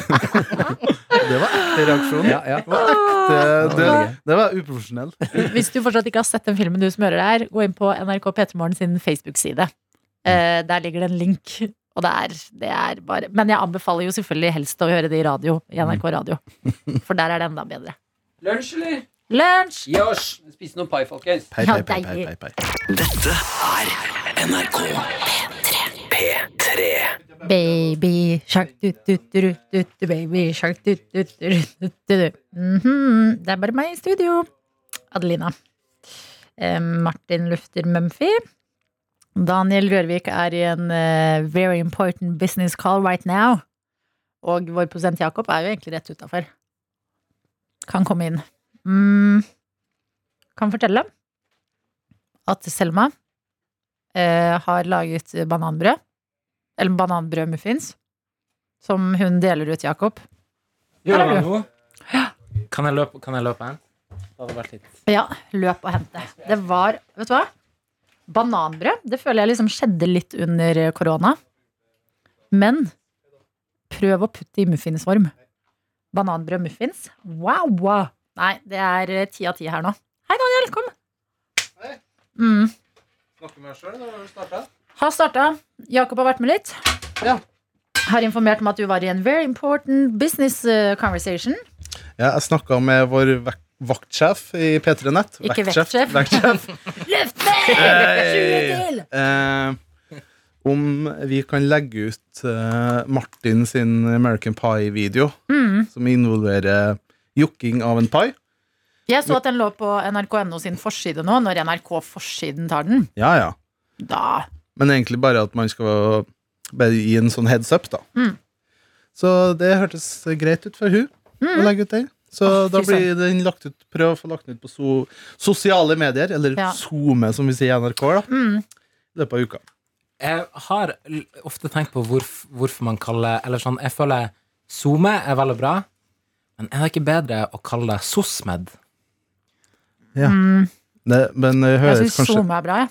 Speaker 5: Det var ekte reaksjon.
Speaker 2: Ja, ja.
Speaker 5: Det, det,
Speaker 2: Norge.
Speaker 5: det var uprofesjonell.
Speaker 3: Hvis du fortsatt ikke har sett den filmen du som hører der, gå inn på NRK P3morgen sin Facebook-side. Eh, der ligger det en link. Og det er, det er bare Men jeg anbefaler jo selvfølgelig helst å høre det i radio. I NRK Radio. For der er det enda bedre.
Speaker 2: Lunsj, eller?
Speaker 3: Lunsj!
Speaker 2: Yes! Spise noe pai, folkens.
Speaker 5: Pei,
Speaker 3: Ja,
Speaker 5: pei, pei, pei,
Speaker 3: deilig.
Speaker 5: pei, pei.
Speaker 3: Baby shark du-du-du-du-du, baby shark du-du-du-du-du. Mhm, Det er bare meg i studio. Adelina. Eh, Martin lufter Mumphy. Daniel Rørvik er i en eh, very important business call right now. Og vår prosent Jakob er jo egentlig rett utafor. Kan komme inn. Mm. Kan fortelle at Selma eh, har laget bananbrød eller bananbrødmuffins, som hun deler ut til Jakob.
Speaker 4: Gjør
Speaker 3: Her er
Speaker 4: det nå? Kan jeg løpe, kan jeg løpe en? Det hadde vært litt
Speaker 3: Ja, løp og hente. Det var, vet du hva? Bananbrød. Det føler jeg liksom skjedde litt under korona. Men prøv å putte det i muffinsform. Bananbrød muffins. Wow! wow. Nei, det er eh, ti av ti her nå. Hei, Daniel. Kom. Mm.
Speaker 5: Snakker med deg sjøl, da har du starta?
Speaker 3: Har starta. Jakob har vært med litt.
Speaker 5: Ja.
Speaker 3: Har informert om at du var i en very important business eh, conversation.
Speaker 5: Ja, jeg snakka med vår vak- vaktsjef i P3 Nett.
Speaker 3: Ikke vektsjef.
Speaker 5: vaktsjef.
Speaker 3: Løft meg!
Speaker 5: Hey!
Speaker 3: til!
Speaker 5: Eh, om vi kan legge ut eh, Martin sin American Pie-video,
Speaker 3: Mm.
Speaker 5: som involverer jokking av en pai.
Speaker 3: Jeg så at den lå på nrk.no sin forside nå, når NRK-forsiden tar den.
Speaker 5: Ja, ja.
Speaker 3: Da
Speaker 5: Men egentlig bare at man skal bare gi en sånn heads up, da.
Speaker 3: Mm.
Speaker 5: Så det hørtes greit ut for hun å legge ut den. Så
Speaker 3: Åh,
Speaker 5: da
Speaker 3: Mm. fy
Speaker 5: blir den lagt ut Prøv å få lagt den ut på so sosiale medier, eller
Speaker 3: Ja.
Speaker 5: SoMe, som vi sier i NRK, da.
Speaker 3: Mm.
Speaker 5: I løpet av uka.
Speaker 4: Jeg har l- ofte tenkt på hvorf, hvorfor man kaller Eller sånn, jeg føler SoMe er veldig bra, men er det ikke bedre å kalle det SOSMED?
Speaker 5: Det, men det
Speaker 3: Jeg
Speaker 5: høres
Speaker 3: syns
Speaker 5: kanskje
Speaker 3: SoMe er bra, jeg.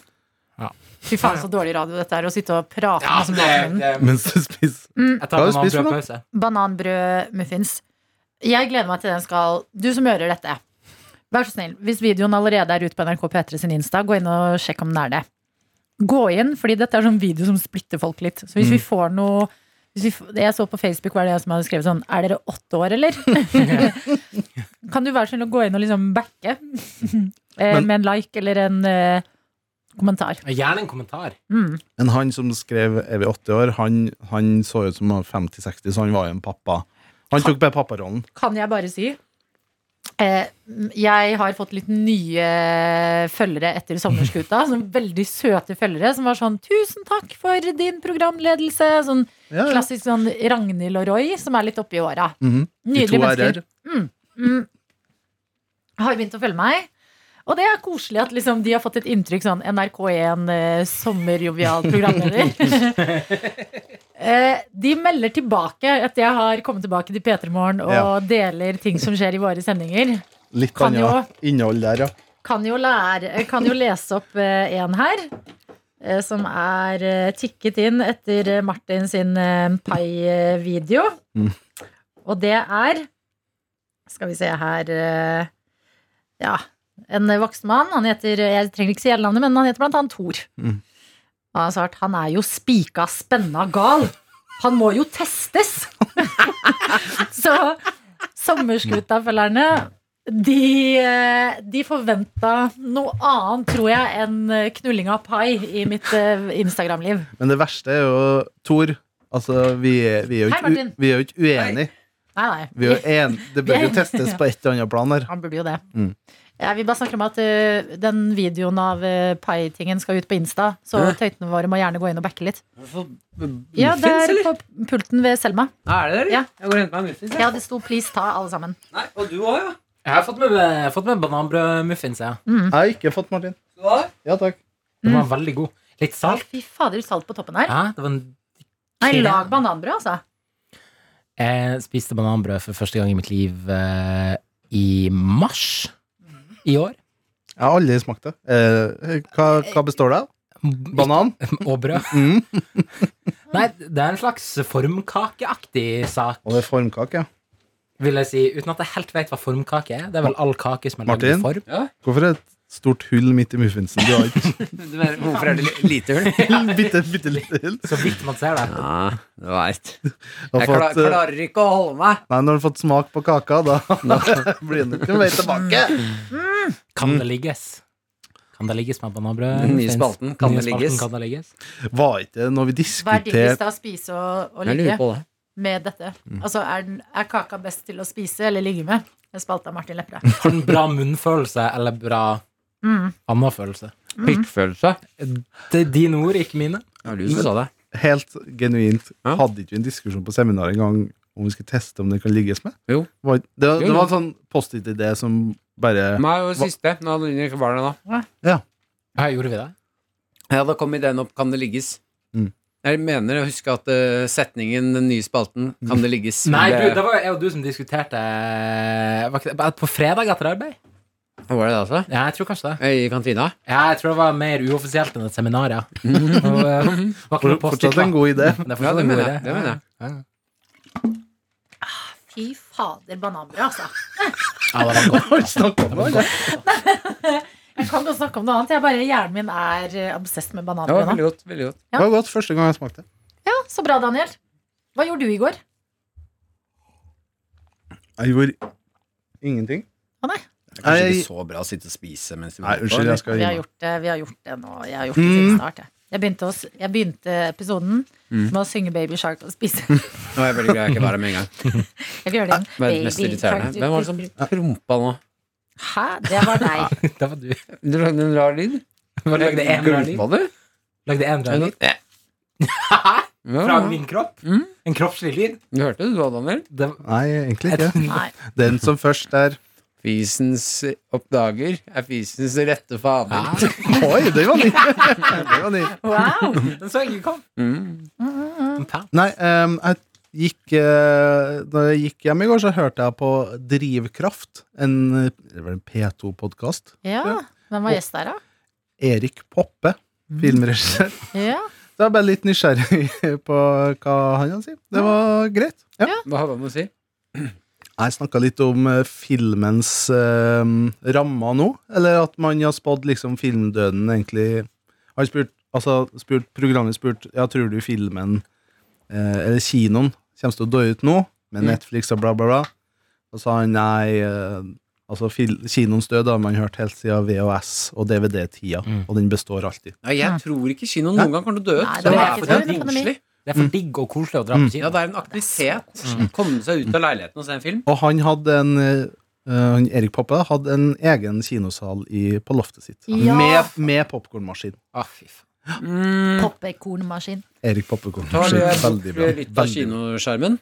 Speaker 4: Ja.
Speaker 3: Fy faen, så dårlig radio dette er, å sitte og prate med sånn som banen.
Speaker 5: Mens du spiser
Speaker 3: Mm.
Speaker 4: Jeg
Speaker 5: Hva
Speaker 4: tar
Speaker 5: har du
Speaker 4: en
Speaker 5: spist for noe?
Speaker 4: pause.
Speaker 3: Bananbrød-muffins. Jeg gleder meg til den skal Du som hører dette, vær så snill, hvis videoen allerede er ute på NRK P3 sin Insta, gå inn og sjekk om den er det. Gå inn, fordi dette er sånn video som splitter folk litt. Så hvis vi får noe hvis vi, f- jeg så på Facebook var det jeg som hadde skrevet sånn Er dere åtte år, eller? kan du være så snill å gå inn og liksom backe? eh,
Speaker 5: Men-
Speaker 3: med en like eller en eh, kommentar.
Speaker 4: Gjerne en kommentar.
Speaker 3: Mm.
Speaker 5: Men han som skrev 'Er vi 80 år', han, han så ut som han var 50-60, så han var jo en pappa. Han tok bare papparollen.
Speaker 3: kan jeg bare si eh, Jeg har fått litt nye følgere etter Sommerskuta. Sånn veldig søte følgere som var sånn 'Tusen takk for din programledelse'. Sånn
Speaker 5: Ja, ja.
Speaker 3: klassisk sånn Ragnhild og Roy, som er litt oppi åra.
Speaker 5: Mhm. De to
Speaker 3: Nydelige mennesker.
Speaker 5: r-er.
Speaker 3: Har begynt å følge meg. Og det er koselig at liksom de har fått et inntrykk sånn NRK1 eh, sommerjovial programleder. eh, de melder tilbake at jeg har kommet tilbake til P3 Morgen og
Speaker 5: Ja.
Speaker 3: deler ting som skjer i våre sendinger.
Speaker 5: Litt
Speaker 3: Kan
Speaker 5: annet innhold der, ja.
Speaker 3: kan jo, lære, kan jo lese opp eh, en her. eh, Som er eh, tikket inn etter eh, Martin sin eh, pai-video.
Speaker 5: Mm.
Speaker 3: Og det er Skal vi se her eh, Ja. En voksen mann. Han heter Jeg trenger ikke si hele navnet, men han heter blant annet Thor.
Speaker 5: Mm.
Speaker 3: Og han har svart han er jo spika spenna gal. Han må jo testes! Så sommerskuta-følgerne de, eh, de forventa noe annet, tror jeg, enn eh, knulling av pai i mitt eh, Instagram-liv.
Speaker 5: Men det verste er jo Tor. Altså, vi er, vi er, jo,
Speaker 3: Hei,
Speaker 5: ikke, u-
Speaker 3: Martin.
Speaker 5: vi er jo ikke uenige.
Speaker 3: Nei, nei.
Speaker 5: Vi er jo en, det bør jo
Speaker 3: Vi er-
Speaker 5: testes på et eller annet plan her.
Speaker 3: Han burde jo det.
Speaker 5: Mm.
Speaker 3: Jeg vil bare snakke om at eh, den videoen av eh, pai-tingen skal ut på Insta, så
Speaker 2: Hæ?
Speaker 3: tøytene våre må gjerne gå inn og backe litt. Ja,
Speaker 2: eh, Ja,
Speaker 3: der på pulten ved Selma.
Speaker 2: Er det det? eller?
Speaker 3: Ja.
Speaker 2: Jeg går og henter meg en muffins. jeg.
Speaker 3: Ja, det sto 'please ta', alle sammen.
Speaker 2: Nei, og du òg, ja.
Speaker 4: Jeg har fått med, jeg har fått med bananbrødmuffins, ja.
Speaker 5: Jeg har ikke fått Martin.
Speaker 2: Du også?
Speaker 5: Ja, takk.
Speaker 4: Den var veldig god. Litt
Speaker 3: Å,
Speaker 4: salt.
Speaker 3: Fy fader, salt på toppen her.
Speaker 4: Ja, det var en
Speaker 3: Nei,
Speaker 4: krem.
Speaker 3: lag bananbrød, altså.
Speaker 4: Jeg spiste bananbrød for første gang i mitt liv eh, i mars i år.
Speaker 5: Jeg har aldri smakt det. Eh, hva, hva består det av? Banan?
Speaker 4: Og brød.
Speaker 5: Mm.
Speaker 4: Nei, det er en slags formkakeaktig sak,
Speaker 5: Og det er formkake, ja.
Speaker 4: vil jeg si. Uten at jeg helt vet hva formkake er. Det er vel all kake som er lagd i
Speaker 5: Martin?
Speaker 4: form.
Speaker 5: Hvorfor er det et stort hull midt i muffinsen? Du har ikke
Speaker 2: Du mener, hvorfor er det li- lite hull?
Speaker 5: bitte, bitte lite hull.
Speaker 4: Så vidt man ser det.
Speaker 2: Ja, du veit.
Speaker 5: Du har
Speaker 2: Jeg klar,
Speaker 5: fått, eh,
Speaker 2: klarer ikke å holde meg.
Speaker 5: nei, når du har fått smak på kaka, da blir den ikke noe vei tilbake.
Speaker 4: Kan det ligges? Kan det ligges med bananbrød?
Speaker 2: Den nye
Speaker 4: Finnes-
Speaker 2: spalten, kan
Speaker 4: nye
Speaker 2: det ligges?
Speaker 4: Kan det ligges?
Speaker 5: Var ikke det når vi
Speaker 3: Hva er diggest
Speaker 5: diskuterte
Speaker 3: av å spise og, og
Speaker 2: Jeg
Speaker 3: ligge
Speaker 2: lurer på det.
Speaker 3: med dette? Altså, er, den- er kaka best til å spise eller ligge med? Det spalta Martin Lepperød.
Speaker 4: Har den bra munnfølelse eller bra
Speaker 3: Mm.
Speaker 4: annen følelse?
Speaker 2: Pikkfølelse.
Speaker 4: Det er dine ord, ikke mine.
Speaker 2: Ja, du som sa det.
Speaker 5: helt genuint
Speaker 2: Ja.
Speaker 5: Hadde ikke vi en diskusjon på seminaret en gang om vi skulle teste om det kan ligges med?
Speaker 2: Jo.
Speaker 5: Var- Det,
Speaker 2: Jo,
Speaker 5: det
Speaker 2: jo.
Speaker 5: var en sånn post-it-idé som bare
Speaker 2: Meg og siste. Nå hadde hun ikke barn ennå.
Speaker 4: Ja, gjorde vi det?
Speaker 2: Ja, da kom ideen opp. Kan det ligges?
Speaker 5: Mm.
Speaker 2: Jeg mener å huske at eh, setningen Den nye spalten Kan det ligges?
Speaker 4: Mm. Nei, du,
Speaker 2: ble-
Speaker 4: det var jo jeg og du som diskuterte var ikke det- På fredag etter arbeid?
Speaker 2: Var det det også?
Speaker 4: Ja, jeg tror kanskje det.
Speaker 2: I kantina?
Speaker 4: Ja, jeg tror det var mer uoffisielt enn et seminar, ja. Og, eh, var ikke noe post-it,
Speaker 5: Fortsatt en
Speaker 4: da.
Speaker 5: god idé.
Speaker 4: Det er
Speaker 2: Ja,
Speaker 4: fortsatt
Speaker 2: det
Speaker 4: en god
Speaker 2: mener jeg.
Speaker 4: idé.
Speaker 2: Det mener jeg.
Speaker 3: Fy fader, bananbrød, altså.
Speaker 4: Ja, det var godt.
Speaker 3: Jeg kan godt snakke om noe annet. Jeg bare, hjernen min er eh, obsessed med
Speaker 2: Det var
Speaker 3: bananbrød. nå.
Speaker 2: veldig godt. Veldig godt.
Speaker 3: Ja.
Speaker 5: Det var godt første gang jeg smakte.
Speaker 3: Ja, så bra, Daniel. Hva gjorde du i går?
Speaker 5: Jeg gjorde ingenting.
Speaker 3: Å, nei.
Speaker 2: Det er kanskje
Speaker 5: Jeg-
Speaker 2: ikke så bra å sitte og spise mens du
Speaker 5: Nei,
Speaker 2: venter på,
Speaker 5: unnskyld,
Speaker 2: eller?
Speaker 5: jeg skal
Speaker 3: Vi
Speaker 5: gi
Speaker 3: har
Speaker 5: meg.
Speaker 3: gjort det, vi har gjort det nå. Jeg har gjort
Speaker 2: Mm.
Speaker 3: det siden start. Jeg, jeg, begynte, å s- jeg begynte episoden
Speaker 2: Mm.
Speaker 3: med å synge Baby Shark og spise.
Speaker 2: Nå er jeg veldig glad jeg ikke var her med en gang.
Speaker 3: Jeg kan gjøre det igjen.
Speaker 2: Verdens mest
Speaker 3: Baby
Speaker 2: irriterende.
Speaker 3: shark, du-
Speaker 2: Hvem var det som prompa nå?
Speaker 3: Hæ? Det var deg.
Speaker 4: Det var du.
Speaker 2: Du lagde en rar lyd.
Speaker 4: Du lagde en rar lyd.
Speaker 2: Gulpa du?
Speaker 4: Lagde en rar lyd.
Speaker 2: Ja.
Speaker 4: Fra
Speaker 2: Ja,
Speaker 4: min kropp.
Speaker 2: Mm.
Speaker 4: En kroppslig lyd.
Speaker 2: Du hørte det du òg, Daniel.
Speaker 4: Det var
Speaker 5: Nei, egentlig ikke.
Speaker 3: Nei.
Speaker 5: Den som først er
Speaker 2: Fisens oppdager er fisens rette fader.
Speaker 5: Oi, det var ny! Det var ny.
Speaker 3: Wow!
Speaker 4: Den så jeg ikke kom.
Speaker 2: Mm.
Speaker 5: Nei, em, jeg gikk eh, Da jeg gikk hjem i går, så hørte jeg på Drivkraft. En, eh, det var en P2-podkast.
Speaker 3: Ja. Hvem var gjest der, da?
Speaker 5: Erik Poppe, filmregissør.
Speaker 3: Ja.
Speaker 5: Så jeg er bare litt nysgjerrig på hva han kan si. Det var greit. Ja.
Speaker 2: Hva hadde han å si?
Speaker 5: Jeg snakka litt om eh, filmens eh, rammer nå. Eller at man har spådd liksom filmdøden, egentlig. Han spurt, altså, spurt, programmet spurt ja, tror du filmen, eh, eller kinoen, kommer til å dø ut nå, med
Speaker 2: Mm.
Speaker 5: Netflix og bla, bla, bla. Og sa han nei, eh, altså fil, kinoens død har man hørt helt siden VHS og DVD-tida,
Speaker 4: Mm.
Speaker 5: og den består alltid.
Speaker 2: Nei, jeg tror ikke kinoen noen gang kommer til å dø ut.
Speaker 3: Nei, det
Speaker 2: Det
Speaker 4: var
Speaker 2: er
Speaker 4: ikke
Speaker 2: fordi det
Speaker 4: det,
Speaker 2: er
Speaker 3: det er pandemi.
Speaker 2: koselig.
Speaker 4: Det er for digg og koselig å dra på
Speaker 5: Mm.
Speaker 2: Ja,
Speaker 4: kino.
Speaker 2: det er en aktivitet. Komme seg ut av leiligheten og se en film.
Speaker 5: Og han hadde en eh, han Erik Poppe hadde en egen kinosal i, på loftet sitt.
Speaker 3: Ja.
Speaker 5: Med, med popkornmaskin.
Speaker 4: Å, fy faen.
Speaker 2: Mm.
Speaker 3: Poppekornmaskin.
Speaker 5: Erik Poppekorn.
Speaker 2: Tar det bort
Speaker 5: Veldig bra.
Speaker 2: litt av
Speaker 5: Veldig bra.
Speaker 2: kinoskjermen?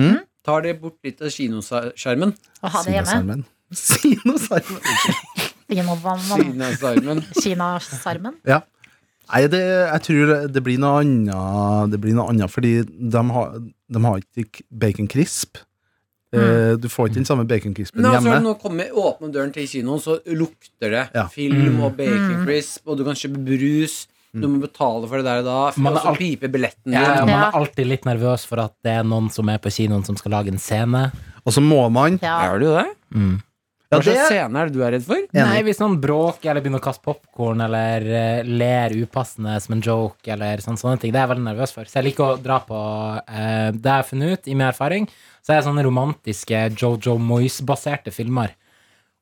Speaker 5: Mm?
Speaker 2: Tar det bort litt av kinoskjermen?
Speaker 3: Å ha det hjemme.
Speaker 5: Sinasarmen. Sinasarmen.
Speaker 3: Kina-
Speaker 2: Kinasarmen.
Speaker 3: Kinasarmen.
Speaker 5: Nei, det, jeg tror det blir noe annet, det blir noe annet fordi de har, de har ikke bacon crisp. Eh,
Speaker 3: Mm.
Speaker 5: Du får ikke den samme bacon crispen
Speaker 2: Nei, og så
Speaker 5: hjemme.
Speaker 2: har det nå kommet, åpne døren til kinoen, så lukter det
Speaker 5: Ja.
Speaker 2: film og
Speaker 3: Mm.
Speaker 2: bacon crisp, og du kan kjøpe brus. Du må betale for det der og da, for
Speaker 4: Man er
Speaker 2: og så
Speaker 4: alt-
Speaker 2: piper billetten din.
Speaker 4: Ja,
Speaker 2: Ja,
Speaker 4: man
Speaker 3: Ja.
Speaker 4: er alltid litt nervøs for at det er noen som er på kinoen som skal lage en scene. Mhm.
Speaker 5: Og så må man
Speaker 3: Ja.
Speaker 2: du det?
Speaker 5: Ja,
Speaker 2: Hva
Speaker 5: det er
Speaker 2: slags scene er det du er redd for?
Speaker 4: Nei,
Speaker 5: enig.
Speaker 4: hvis noen bråker eller begynner å kaste popkorn eller eh, ler upassende som en joke eller sånn, sånne ting, det er jeg veldig nervøs for. Så jeg liker å dra på eh, Det jeg har funnet ut i min erfaring, så er sånne romantiske Jojo Moyes-baserte filmer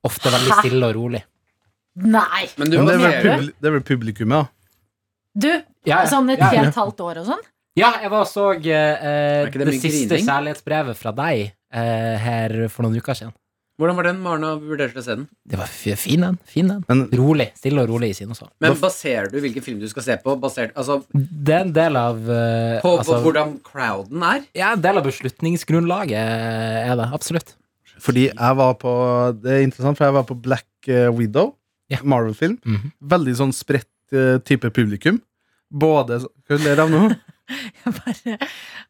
Speaker 4: ofte veldig
Speaker 3: Hæ?
Speaker 4: stille og rolig.
Speaker 3: Nei!
Speaker 2: Men du
Speaker 5: Men det er vel
Speaker 2: ser det.
Speaker 5: publi- det er vel publikummet, ja.
Speaker 3: Du,
Speaker 4: Ja, ja,
Speaker 3: sånn et
Speaker 4: ja, ja.
Speaker 3: helt halvt år og sånn?
Speaker 4: Ja, jeg var og så eh, eh,
Speaker 2: ikke det
Speaker 4: det,
Speaker 2: mye
Speaker 4: siste
Speaker 2: grining?
Speaker 4: kjærlighetsbrevet fra deg eh, her for noen uker siden.
Speaker 2: Hvordan var den Marna vurderte å se den?
Speaker 4: Det var f- fin den. fin den
Speaker 5: Men
Speaker 4: Rolig. Stille og rolig i kinosalen.
Speaker 2: Men baserer du hvilken film du skal se på, basert altså,
Speaker 4: Det er en del av eh,
Speaker 2: på, på
Speaker 4: altså,
Speaker 2: hvordan crowden er?
Speaker 4: Ja, en del av beslutningsgrunnlaget er det. Absolutt.
Speaker 5: fordi jeg var på Det er interessant, for jeg var på Black eh, Widow,
Speaker 4: Ja.
Speaker 5: Marvel-film.
Speaker 4: Mhm.
Speaker 5: Veldig sånn spredt eh, type publikum. Både så- Hva ler du av nå?
Speaker 3: Bare,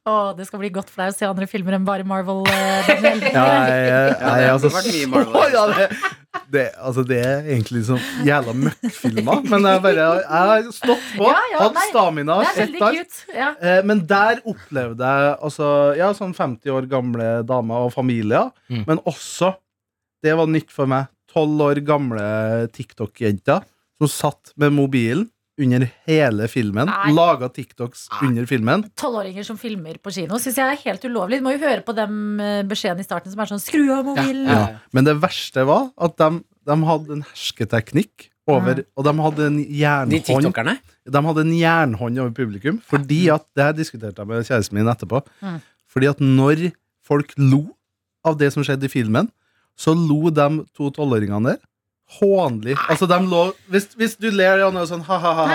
Speaker 3: å, det skal bli godt for deg å se andre filmer enn bare Marvel. eh, Daniel.
Speaker 5: Ja, jeg, jeg,
Speaker 2: Ja,
Speaker 5: jeg,
Speaker 2: det har
Speaker 5: altså,
Speaker 2: vært mye Marvel.
Speaker 5: så- ja, det, det, altså, det er egentlig som jævla møkkfilmer, men jeg, bare, jeg har stått på,
Speaker 3: Ja, ja,
Speaker 5: hatt
Speaker 3: nei,
Speaker 5: stamina.
Speaker 3: Det er
Speaker 5: sett
Speaker 3: veldig
Speaker 5: alt.
Speaker 3: cute. Ja.
Speaker 5: Eh, Men der opplevde jeg altså, ja, sånn 50 år gamle damer og familier,
Speaker 4: Mm.
Speaker 5: men også Det var nytt for meg. 12 år gamle TikTok-jenter som satt med mobilen under hele filmen.
Speaker 3: Nei.
Speaker 5: Laga TikToks under filmen.
Speaker 3: Tolvåringer som filmer på kino syns jeg er helt ulovlig. Du må jo høre på den eh, beskjeden i starten som er sånn 'skru av mobilen'.
Speaker 4: Ja.
Speaker 5: Men det verste var at de, de hadde en hersketeknikk over Og de hadde en
Speaker 2: De
Speaker 5: jernhånd
Speaker 2: tiktokerne?
Speaker 5: De hadde en jernhånd over publikum, fordi at Det her diskuterte jeg med kjæresten min etterpå.
Speaker 3: Mm.
Speaker 5: Fordi at når folk lo av det som skjedde i filmen, så lo de to tolvåringene der hånlig. Altså, de lå Hvis, hvis du ler og sånn ha-ha-ha,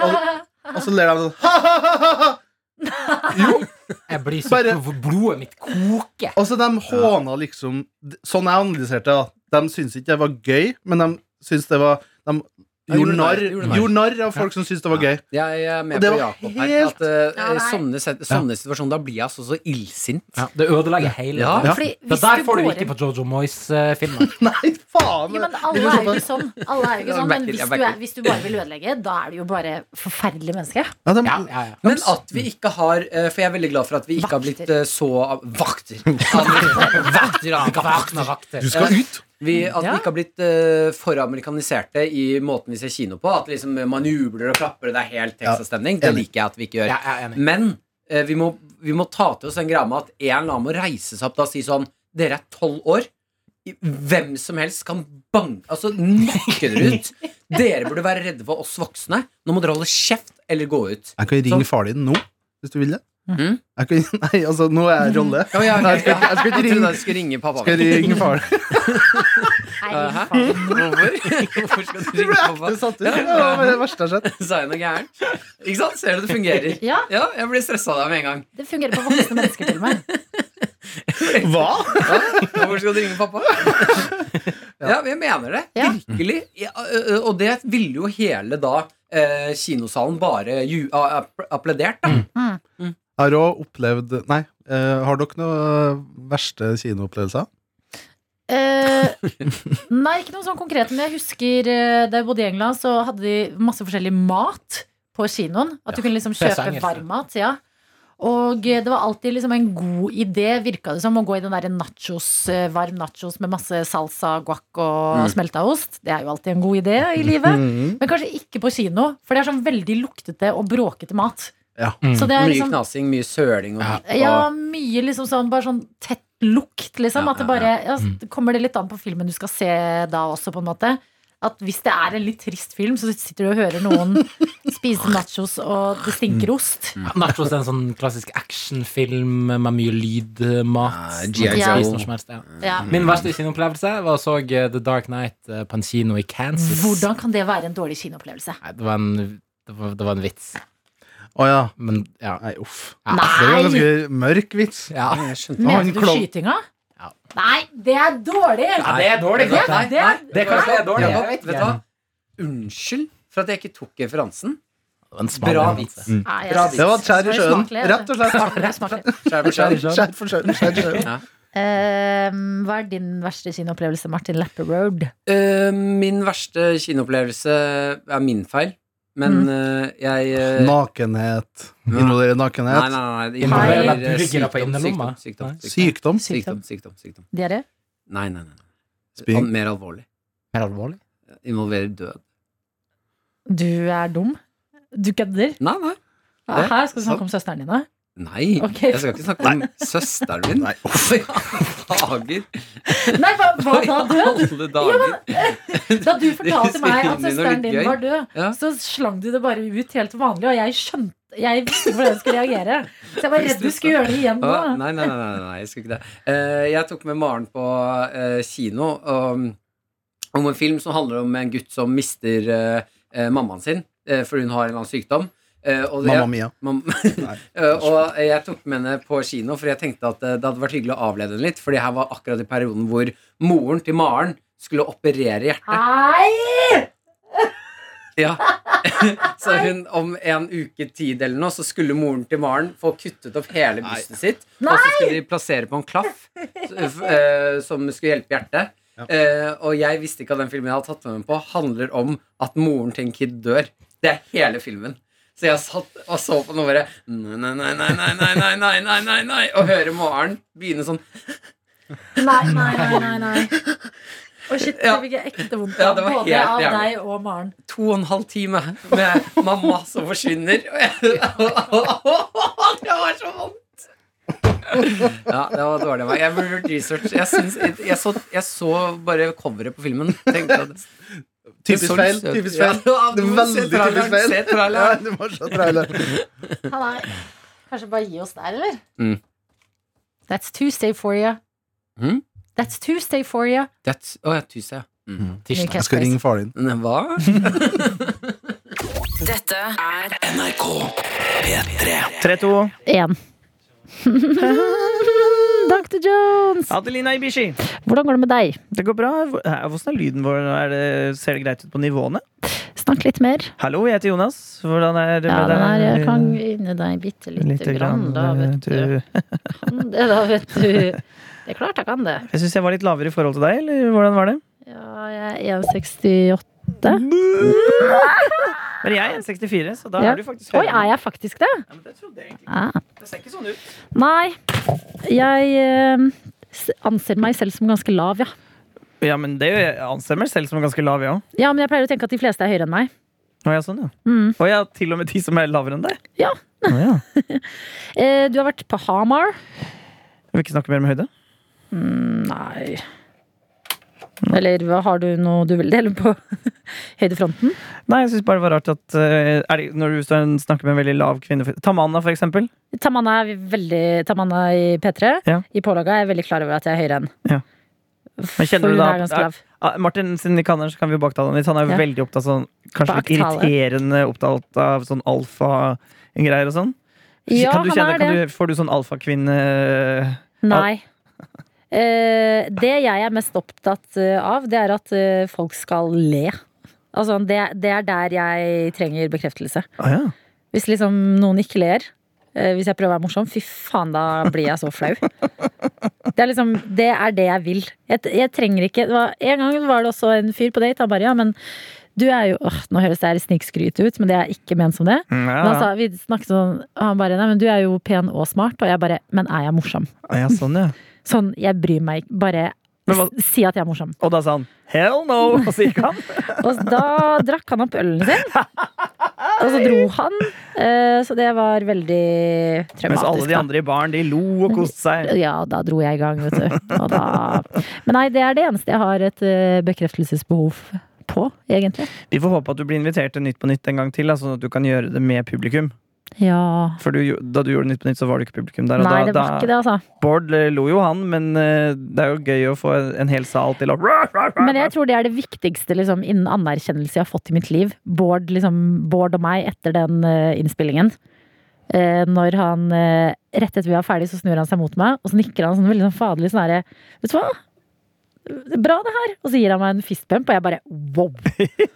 Speaker 5: og så ler de sånn ha-ha-ha,
Speaker 4: Jeg blir så
Speaker 5: Bare-
Speaker 4: Blodet mitt koker.
Speaker 5: Altså, de håna liksom Sånn jeg analyserte det, da. De syntes ikke det var gøy, men de syntes det var De Gjorde narr
Speaker 2: Gjorde narr.
Speaker 5: gjorde narr av folk som syntes det var gøy.
Speaker 2: Jeg er
Speaker 5: Og
Speaker 2: med
Speaker 5: det
Speaker 2: på
Speaker 5: var
Speaker 2: Jakob her.
Speaker 5: helt-
Speaker 2: At, eh,
Speaker 6: Ja, nei.
Speaker 2: sånne, set- sånne situasjoner, da blir jeg altså så illsint.
Speaker 4: Ja, det ødelegger hele
Speaker 2: Ja.
Speaker 5: Ja.
Speaker 6: Fordi
Speaker 4: Det
Speaker 6: hvis
Speaker 4: der
Speaker 6: du
Speaker 4: får du
Speaker 6: går
Speaker 4: ikke
Speaker 6: inn
Speaker 4: på Jojo Moyes-filmer.
Speaker 5: Nei, faen!
Speaker 6: jo, men alle er jo ikke sånn. Alle er jo ikke
Speaker 2: Jeg
Speaker 6: sånn
Speaker 2: backer,
Speaker 6: men
Speaker 2: jeg
Speaker 6: hvis du, er,
Speaker 2: backer.
Speaker 6: hvis du bare vil ødelegge, da er du jo bare forferdelig menneske.
Speaker 5: Ja, det,
Speaker 4: Ja, ja, ja.
Speaker 2: Men at vi ikke har eh, For jeg er veldig glad for at vi ikke har blitt
Speaker 6: Vakter.
Speaker 2: eh, så Vakter! Vakter, ja, vakter.
Speaker 5: du skal ut!
Speaker 2: Vi, at
Speaker 3: Ja.
Speaker 2: vi ikke har blitt eh, foramerikaniserte i måten vi ser kino på. At liksom man jubler og klapper, og det er helt Texas-stemning. Det
Speaker 5: enig.
Speaker 2: liker jeg at vi ikke gjør.
Speaker 4: Ja, jeg er enig.
Speaker 2: Men eh, vi, må, vi må ta til oss den greia med at en eller annen må reise seg opp da og si sånn Dere er tolv år. I- Hvem som helst kan banke Altså, nakke dere ut. Dere burde være redde for oss voksne. Nå må dere holde kjeft eller gå ut.
Speaker 5: Jeg kan ringe faren din nå, hvis du vil det. Jeg kan, nei, altså, nå er jeg i rolle.
Speaker 2: Å, Mm. ja, ok,
Speaker 5: Nei, jeg skal-
Speaker 2: ja.
Speaker 5: jeg skal ikke
Speaker 2: trodde
Speaker 5: ringe.
Speaker 2: jeg skulle ringe pappa.
Speaker 5: Skal jeg ringe faren din?
Speaker 6: Nei,
Speaker 2: Eh, Hæ?
Speaker 6: faen.
Speaker 2: Hvorfor? Hvorfor skal
Speaker 5: Du
Speaker 2: du
Speaker 5: ble
Speaker 2: ringe
Speaker 5: ekte
Speaker 2: pappa?
Speaker 5: satt ut.
Speaker 2: Ja.
Speaker 5: Det var det verste jeg har sett.
Speaker 2: Sa jeg noe gærent? Ikke sant? Ser du det fungerer?
Speaker 6: Ja,
Speaker 2: Ja, jeg blir stressa av deg med en gang.
Speaker 6: det fungerer på voksne mennesker til og med.
Speaker 5: Hva?
Speaker 2: Ja, hvorfor skal du ringe pappa? Ja, jeg mener det.
Speaker 6: Ja.
Speaker 2: Virkelig. Ja, ø, ø, og det ville jo hele da eh, kinosalen bare ju a- app- applaudert, da.
Speaker 3: Mm.
Speaker 5: Har du opplevd Nei, eh, har dere noen verste kinoopplevelser?
Speaker 3: Eh, nei, ikke noe sånn konkret. Men jeg husker eh, da jeg bodde i England, så hadde de masse forskjellig mat på kinoen. At du kunne liksom
Speaker 4: det er så
Speaker 3: kjøpe
Speaker 4: engelsk, det.
Speaker 3: varm mat. Ja. Og eh, det var alltid liksom en god idé, virka det som, å gå i den derre nachos, eh, varm nachos med masse salsa, guac
Speaker 2: Mm.
Speaker 3: og smelta ost. Det er jo alltid en god idé i livet. Men kanskje ikke på kino, for det er sånn veldig luktete og bråkete mat.
Speaker 5: Ja.
Speaker 3: Så det er
Speaker 2: Mye
Speaker 3: liksom
Speaker 2: knasing, mye søling og
Speaker 4: Ja.
Speaker 3: ja, mye liksom sånn, bare sånn tett lukt, liksom.
Speaker 2: Ja,
Speaker 3: at det
Speaker 2: ja, ja.
Speaker 3: bare ja, så
Speaker 5: Mm.
Speaker 3: Kommer det litt an på filmen du skal se da også, på en måte? At hvis det er en litt trist film, så sitter du og hører noen spise nachos, og det
Speaker 5: Mm.
Speaker 3: stinker ost.
Speaker 4: Ja, Nachos er en sånn klassisk actionfilm med mye lydmat.
Speaker 2: Ja, G.I.
Speaker 4: Man kan spise
Speaker 2: Joe.
Speaker 4: når som helst, ja.
Speaker 3: Ja.
Speaker 5: Mm.
Speaker 4: Min verste kinoopplevelse var så eh, The Dark Night eh, på en kino i Kansas.
Speaker 3: Hvordan kan det være en dårlig kinoopplevelse?
Speaker 4: Nei, det, var en, det, var, det var en vits.
Speaker 5: Å ja.
Speaker 4: Men ja.
Speaker 5: Nei, uff.
Speaker 4: ja.
Speaker 5: Det var en
Speaker 3: Nei!
Speaker 5: ganske mørk vits.
Speaker 4: ja.
Speaker 2: Jeg skjønte
Speaker 5: var en
Speaker 3: Mener du
Speaker 5: klovn.
Speaker 3: skytinga?
Speaker 4: Ja.
Speaker 3: Nei, det er dårlig!
Speaker 4: det er dårlig.
Speaker 3: Det- det er-
Speaker 4: Det kan være dårlig, jeg
Speaker 2: Jakob, vet
Speaker 4: vet
Speaker 2: du
Speaker 4: ikke.
Speaker 2: hva? Unnskyld for at jeg ikke tok referansen.
Speaker 4: En smal
Speaker 2: Bra
Speaker 4: referanse.
Speaker 2: vits.
Speaker 3: Nei,
Speaker 2: Bra
Speaker 3: jeg,
Speaker 2: vits.
Speaker 5: Det var skjær i
Speaker 3: Så
Speaker 5: sjøen.
Speaker 3: smakelig, altså.
Speaker 5: Rett og slett.
Speaker 3: det smaker litt.
Speaker 2: Skjær for skjær.
Speaker 5: Skjær for sjøen. Skjær i sjøen.
Speaker 3: Eh, hva er din verste kinoopplevelse, Martin Lepperød?
Speaker 2: Eh, min verste kinoopplevelse er min feil, men
Speaker 3: Mm.
Speaker 2: eh, jeg eh,
Speaker 5: Nakenhet. Involverer
Speaker 2: Nei,
Speaker 5: nakenhet.
Speaker 2: nei, nei.
Speaker 3: Feil.
Speaker 2: Involverer
Speaker 4: Du ligger da på
Speaker 2: sykdom,
Speaker 4: innerlomma.
Speaker 2: sykdom, sykdom, sykdom,
Speaker 5: Sykdom.
Speaker 2: sykdom, sykdom, sykdom.
Speaker 3: Dere?
Speaker 2: Nei, nei, nei. nei.
Speaker 5: Spy.
Speaker 2: An- Mer alvorlig.
Speaker 4: Mer alvorlig.
Speaker 2: Involverer død.
Speaker 3: Du er dum. Du kødder.
Speaker 2: Nei, nei. Det-
Speaker 3: Her skal du snakke om søsteren din, da.
Speaker 2: Nei,
Speaker 3: Ok.
Speaker 2: jeg skal ikke snakke om søsteren min.
Speaker 5: Nei,
Speaker 2: Hvorfor i alle dager?
Speaker 3: Nei, hva, hva
Speaker 2: Hvorfor i
Speaker 3: da død?
Speaker 2: alle dager?
Speaker 3: Da du fortalte
Speaker 2: skulle
Speaker 3: meg
Speaker 2: inn i
Speaker 3: at
Speaker 2: noe
Speaker 3: søsteren
Speaker 2: litt
Speaker 3: din
Speaker 2: gøy.
Speaker 3: var død,
Speaker 2: Ja.
Speaker 3: så slang du det bare ut helt vanlig, og jeg skjønte jeg visste ikke hvordan jeg skulle reagere. Så jeg var redd du skulle gjøre det igjen nå.
Speaker 2: Å, Nei, nei, nei, nei, nei, jeg skulle ikke det. Eh, jeg tok med Maren på eh, kino um, om en film som handler om en gutt som mister eh, eh, mammaen sin, eh, for hun har en eller annen sykdom. Eh, og det-
Speaker 5: Mamma Mia.
Speaker 2: Mam-
Speaker 5: Nei.
Speaker 2: Eh, og jeg tok med henne på kino, for jeg tenkte at eh, det hadde vært hyggelig å avlede henne litt. For det her var akkurat i perioden hvor moren til Maren skulle operere hjertet.
Speaker 3: Hei!
Speaker 2: Ja. så hun om en uke tid eller noe, så skulle moren til Maren få kuttet opp hele brystet sitt. Og så skulle de plassere på en klaff så, f- eh, som skulle hjelpe hjertet.
Speaker 5: Ja.
Speaker 2: Eh, og jeg visste ikke at den filmen jeg hadde tatt med meg på, handler om at moren til en kid dør. Det er hele filmen. Så jeg satt og så på den og bare Nei, nei, nei, nei, nei, nei, nei, nei, nei, nei, nei Og hører Maren begynne sånn
Speaker 3: Nei, nei, nei, nei. nei. Å, shit,
Speaker 2: Ja.
Speaker 3: jeg fikk jeg ekte vondt
Speaker 2: Ja,
Speaker 3: av
Speaker 2: det var
Speaker 3: både
Speaker 2: helt
Speaker 3: av
Speaker 2: jævlig.
Speaker 3: deg og Maren.
Speaker 2: to og en halv time med mamma som forsvinner. Og jeg, det var så vondt! Ja, det var dårlig av meg. Jeg burde gjort research. Jeg, syns, jeg, så, jeg så bare coveret på filmen. Tenkte at,
Speaker 5: Typisk feil. Typisk feil.
Speaker 2: Ja,
Speaker 5: Det
Speaker 2: du
Speaker 5: er
Speaker 2: må se
Speaker 5: Veldig
Speaker 2: traileren,
Speaker 5: typisk feil.
Speaker 2: se traileren.
Speaker 5: Ja, det var så trailer.
Speaker 3: Hallei. Kanskje bare gi oss der, eller?
Speaker 2: Mm.
Speaker 3: That's Tuesday for you.
Speaker 2: Mm?
Speaker 3: That's Tuesday for you.
Speaker 2: That's, å, jeg tyser, ja. Mm.
Speaker 4: Tirsdag.
Speaker 5: Jeg skal ringe faren din.
Speaker 2: Men Hva?
Speaker 7: Dette er
Speaker 8: 3-2.
Speaker 3: Én. Dr. Jones,
Speaker 8: Adelina Ibishi.
Speaker 3: hvordan går det med deg?
Speaker 8: Det går bra. Hvor- eh, Hvordan er lyden vår? Er det, ser det greit ut på nivåene?
Speaker 3: Snakk litt mer.
Speaker 7: Hallo, jeg heter Jonas. Hvordan er det
Speaker 3: Ja,
Speaker 7: med eh,
Speaker 3: den
Speaker 7: deg?
Speaker 3: her jeg kan inni deg bitte lite grann, da,
Speaker 7: eh,
Speaker 3: vet du. Kan det, da, vet du. Det er klart jeg kan det.
Speaker 7: Jeg syns jeg var litt lavere i forhold til deg, eller hvordan var det?
Speaker 3: Ja, jeg er 1,68.
Speaker 7: Men jeg er 1,64, så da
Speaker 3: Ja.
Speaker 7: er du faktisk
Speaker 3: Oi, er jeg Ah. faktisk det?
Speaker 7: Ja, men det trodde jeg egentlig
Speaker 3: Ja.
Speaker 7: ikke. Det ser ikke sånn ut.
Speaker 3: Nei, jeg eh, s- anser meg selv som ganske lav, ja.
Speaker 7: Ja, men det jeg anser meg selv som ganske lav, jeg òg.
Speaker 3: Ja, men jeg pleier å tenke at de fleste er høyere enn meg.
Speaker 7: Å ja, sånn, ja.
Speaker 3: Mm.
Speaker 7: Å ja, til og med de som er lavere enn deg?
Speaker 3: Ja.
Speaker 7: Å, ja.
Speaker 3: Eh, du har vært på Hamar?
Speaker 7: Jeg vil ikke snakke mer om høyde.
Speaker 3: Nei. Eller hva, har du noe du vil dele på høydefronten?
Speaker 7: Nei, jeg syns bare det var rart at eh, er det, Når du står og snakker med en veldig lav kvinne Tamanna, for eksempel.
Speaker 3: Tamanna er veldig Tamanna i P3,
Speaker 7: Ja.
Speaker 3: i pålaga, er jeg veldig klar over at jeg er høyere enn.
Speaker 7: Ja. Men kjenner
Speaker 3: For hun
Speaker 7: du da
Speaker 3: er
Speaker 7: at-
Speaker 3: ganske lav.
Speaker 7: Ah, Martin, siden vi kan her, så kan vi jo baktale han litt. Han er jo
Speaker 3: Ja.
Speaker 7: veldig opptatt av sånn Kanskje litt
Speaker 3: Baktale.
Speaker 7: irriterende opptatt av sånn alfa-greier og sånn.
Speaker 3: Ja,
Speaker 7: kan du
Speaker 3: han er det.
Speaker 7: kan du, får du sånn alfakvinne
Speaker 3: Nei. Eh, det jeg er mest opptatt eh, av, det er at eh, folk skal le. Altså, det, det er der jeg trenger bekreftelse.
Speaker 7: Å Ah, ja.
Speaker 3: Hvis liksom noen ikke ler, eh, hvis jeg prøver å være morsom, fy faen, da blir jeg så flau. Det er liksom, det er det jeg vil. Jeg, jeg trenger ikke det var, En gang var det også en fyr på date, han bare ja, men du er jo åh, Nå høres det her snikskryt ut, men det er ikke ment som det.
Speaker 7: Mm, ja,
Speaker 3: Men han
Speaker 7: ja.
Speaker 3: sa, vi snakket sånn, og han bare nei, men du er jo pen og smart, og jeg bare men er jeg morsom?
Speaker 7: Å ja, sånn, ja.
Speaker 3: Sånn, jeg bryr meg ikke. Bare
Speaker 7: Men hva-
Speaker 3: s- si at jeg er morsom.
Speaker 7: Og da sa han hell no! Og så gikk han.
Speaker 3: Og da drakk han opp ølen sin. Og så dro han. eh, Så det var veldig
Speaker 7: Mens
Speaker 3: traumatisk.
Speaker 7: alle de
Speaker 3: da.
Speaker 7: andre i baren de lo og koste seg.
Speaker 3: Ja, da dro jeg i gang, vet du. Og da... Men nei, det er det eneste jeg har et eh, bekreftelsesbehov på, egentlig.
Speaker 7: Vi får håpe at du blir invitert til Nytt på Nytt en gang til, da, sånn at du kan gjøre det med publikum.
Speaker 3: Ja.
Speaker 7: For du, da du gjorde Nytt på Nytt, så var det ikke publikum der. Og
Speaker 3: Nei,
Speaker 7: da,
Speaker 3: det var
Speaker 7: da,
Speaker 3: ikke det, altså.
Speaker 7: Bård eh, lo jo han, men eh, det er jo gøy å få en, en hel sal til å
Speaker 3: Men jeg tror det er det viktigste liksom, innen anerkjennelse jeg har fått i mitt liv. Bård, liksom, Bård og meg etter den eh, innspillingen. Eh, når han eh, Rett etter vi var ferdig, så snur han seg mot meg, og så nikker han sånn veldig sånn faderlig sånn herre Vet du hva? Bra, det her! Og så gir han meg en fistbump, og jeg bare wow!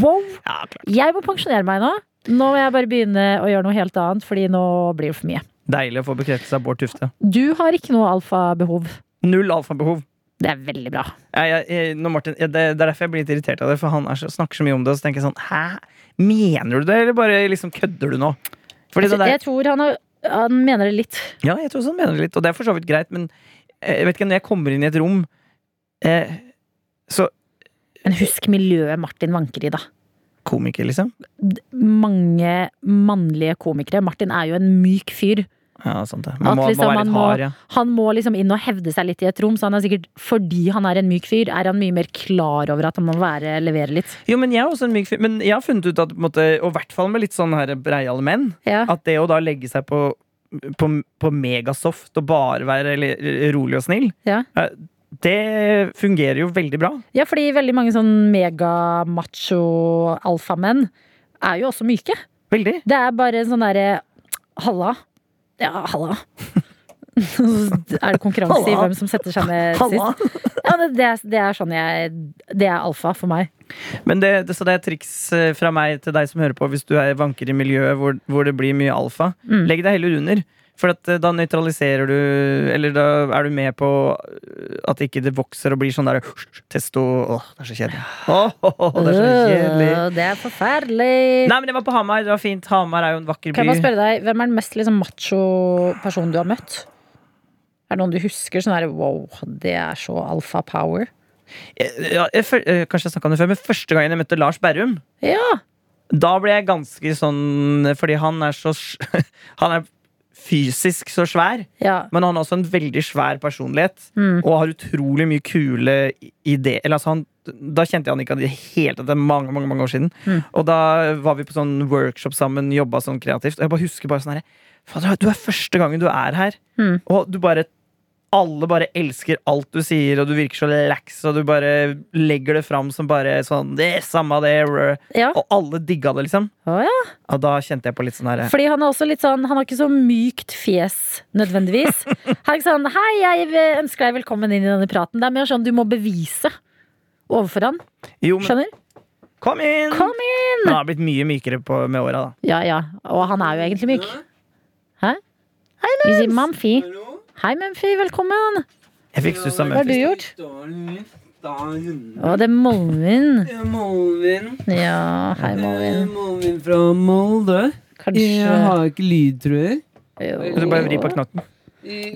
Speaker 3: wow!
Speaker 7: Ja, klart.
Speaker 3: Jeg må pensjonere meg nå. Nå må jeg bare begynne å gjøre noe helt annet, fordi nå blir det for mye.
Speaker 7: Deilig å få bekreftelse av Bård Tufte.
Speaker 3: Du har ikke noe alfabehov.
Speaker 7: Null alfabehov.
Speaker 3: Det er veldig bra.
Speaker 7: Jeg, jeg, jeg, nå, Martin, jeg, det, det er derfor jeg blir litt irritert av det, for han er så, snakker så mye om det. Og så tenker jeg sånn Hæ? Mener du det, eller bare liksom kødder du nå? Fordi det der,
Speaker 3: Altså, Jeg tror han, har, han mener det litt.
Speaker 7: ja, jeg tror sånn mener det litt, og det er for så vidt greit, men eh, jeg vet ikke, når jeg kommer inn i et rom eh, Så
Speaker 3: Men husk miljøet Martin vanker i, da.
Speaker 7: komiker, liksom.
Speaker 3: D- Mange mannlige komikere. Martin er jo en myk fyr.
Speaker 7: Ja, sant det.
Speaker 3: At
Speaker 7: Man må,
Speaker 3: liksom
Speaker 7: må være
Speaker 3: man
Speaker 7: litt
Speaker 3: må-
Speaker 7: hard, ja.
Speaker 3: Han må liksom inn og hevde seg litt i et rom, så han er sikkert, fordi han er en myk fyr, er han mye mer klar over at han må være, levere litt.
Speaker 7: Jo, men jeg er også en myk fyr. Men jeg har funnet ut at, på en måte, og i hvert fall med litt sånn her breiale menn,
Speaker 3: Ja.
Speaker 7: at det å da legge seg på, på, på megasoft og bare være le- rolig og snill,
Speaker 3: Ja.
Speaker 7: eh, det fungerer jo veldig bra.
Speaker 3: ja, fordi veldig mange sånn megamacho alfamenn er jo også myke.
Speaker 7: Veldig.
Speaker 3: Det er bare sånn derre Halla. Ja, halla. er det konkurranse i
Speaker 7: Halla.
Speaker 3: hvem som setter seg ned Eh, sist? Ja, men det, er- det er sånn jeg Det er alfa for meg.
Speaker 7: Men det, det, så det er et triks eh, fra meg til deg som hører på, hvis du er vanker i miljøet hvor, hvor det blir mye alfa.
Speaker 3: Mm.
Speaker 7: Legg deg heller under. For at eh, da nøytraliserer du Eller da er du med på eh, at ikke det vokser og blir sånn der testo Åh, det er så kjedelig. Åh, det er så kjedelig.
Speaker 3: Øh, det er forferdelig.
Speaker 7: Nei, men det var på Hamar. Det var fint. Hamar er jo en vakker
Speaker 3: Kan jeg bare
Speaker 7: by.
Speaker 3: spørre deg, Hvem er den mest liksom, macho personen du har møtt? Er det noen du husker? Sånn her, wow, det er så alfa power.
Speaker 7: Jeg- Ja, jeg, føl- eh, kanskje jeg snakket om det før, men første gangen jeg møtte Lars Berrum,
Speaker 3: Ja!
Speaker 7: da ble jeg ganske sånn Fordi han er så s- Han er fysisk så svær,
Speaker 3: ja.
Speaker 7: men han har også en veldig svær personlighet.
Speaker 3: Mm.
Speaker 7: Og har utrolig mye kule ideer. Eller, altså, han, da kjente jeg han ikke i det hele tatt. Det er mange, mange, mange år siden.
Speaker 3: Mm.
Speaker 7: Og da var vi på sånn workshop sammen, jobba sånn kreativt. Og jeg bare husker bare sånn herre Fader, du er første gangen du er her.
Speaker 3: Mm.
Speaker 7: Og du bare alle bare elsker alt du sier, og du virker så lax, og du bare legger det fram som bare sånn Det er samme det. rø."
Speaker 3: ja.
Speaker 7: Og alle digga det, liksom.
Speaker 3: Å, ja.
Speaker 7: Og da kjente jeg på litt sånn herre
Speaker 3: Fordi han er også litt sånn Han har ikke så mykt fjes, nødvendigvis. Han er ikke sånn 'Hei, jeg ønsker deg velkommen inn i denne praten'. Det er mer sånn du må bevise overfor han.
Speaker 7: Jo, men
Speaker 3: Skjønner?
Speaker 7: Kom inn!
Speaker 3: Kom
Speaker 7: inn! Han har blitt mye mykere på, med åra, da.
Speaker 3: Ja, ja. Og han er jo egentlig myk. Hæ? Vi sier Mumphy. Hei, Mumphy. Velkommen.
Speaker 7: Jeg fikk stussa
Speaker 3: Hva har du
Speaker 7: Memphis.
Speaker 3: gjort? Å, det er Molvin.
Speaker 2: Molvin.
Speaker 3: Ja, hei, Molvin.
Speaker 2: Molvin fra Molde.
Speaker 3: Kanskje
Speaker 2: ikke lyd, tror jeg.
Speaker 3: Jo.
Speaker 7: Så bare vri på knotten.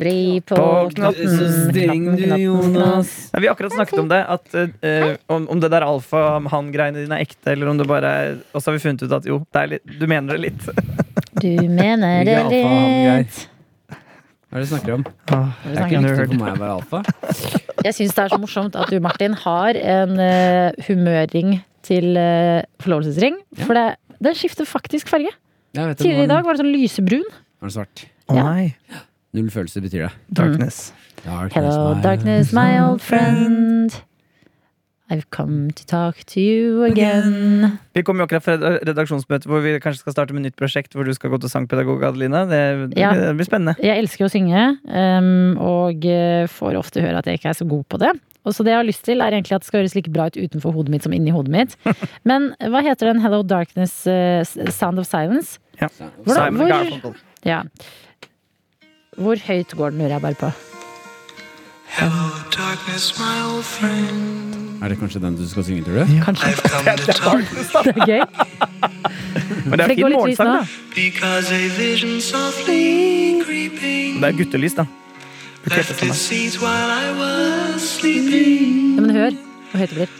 Speaker 3: Vri på
Speaker 7: På
Speaker 3: knotten.
Speaker 2: Så streng
Speaker 3: knotten,
Speaker 2: du,
Speaker 3: knotten,
Speaker 2: Jonas.
Speaker 7: Nei, vi har akkurat snakket om det. At, eh, om, om det der alfa-han-greiene dine er ekte, eller om det bare er Og så har vi funnet ut at jo, det er litt, du mener det litt.
Speaker 3: knotten. Du mener det
Speaker 2: Ikke alfa, han,
Speaker 3: litt.
Speaker 2: Hva er det du snakker om? Det er
Speaker 7: Ah, Jeg
Speaker 2: ikke
Speaker 7: kunne
Speaker 2: riktig
Speaker 7: hørt.
Speaker 2: for meg å være alfa.
Speaker 3: Jeg syns det er så morsomt at du, Martin, har en eh, humørring til eh, forlovelsesring. For det, den skifter faktisk farge.
Speaker 2: Jeg vet det,
Speaker 3: Tidligere i
Speaker 2: nå
Speaker 3: dag var det sånn lysebrun.
Speaker 2: er den svart.
Speaker 7: Å nei.
Speaker 3: Mm.
Speaker 2: Null følelser betyr det.
Speaker 7: Darkness.
Speaker 2: Darkness,
Speaker 3: Hello,
Speaker 2: my-
Speaker 3: darkness, my old friend. I've come to talk to you again.
Speaker 7: Vi kommer jo akkurat fra et redaksjonsmøte hvor vi kanskje skal starte med et nytt prosjekt hvor du skal gå til sangpedagog, Adelina. Det, det,
Speaker 3: Ja.
Speaker 7: det blir spennende.
Speaker 3: Jeg elsker å synge, em, og eh, får ofte høre at jeg ikke er så god på det. Og så det jeg har lyst til, er egentlig at det skal høres like bra ut utenfor hodet mitt som inni hodet mitt. Men hva heter den Hello Darkness eh, S- Sound of Silence?
Speaker 7: Ja.
Speaker 3: Hvordan,
Speaker 7: Simon
Speaker 3: hvor,
Speaker 7: Garfunkel.
Speaker 3: Ja. Hvor høyt går den, lurer jeg bare på.
Speaker 2: Er det kanskje den du skal synge, tror du?
Speaker 3: Det er gøy.
Speaker 7: Men
Speaker 3: For
Speaker 7: det er
Speaker 3: det går litt
Speaker 7: fin
Speaker 3: lys nå.
Speaker 7: morgensang, da. Det er guttelys, da.
Speaker 3: Ja, men hør hvor høyt det blir.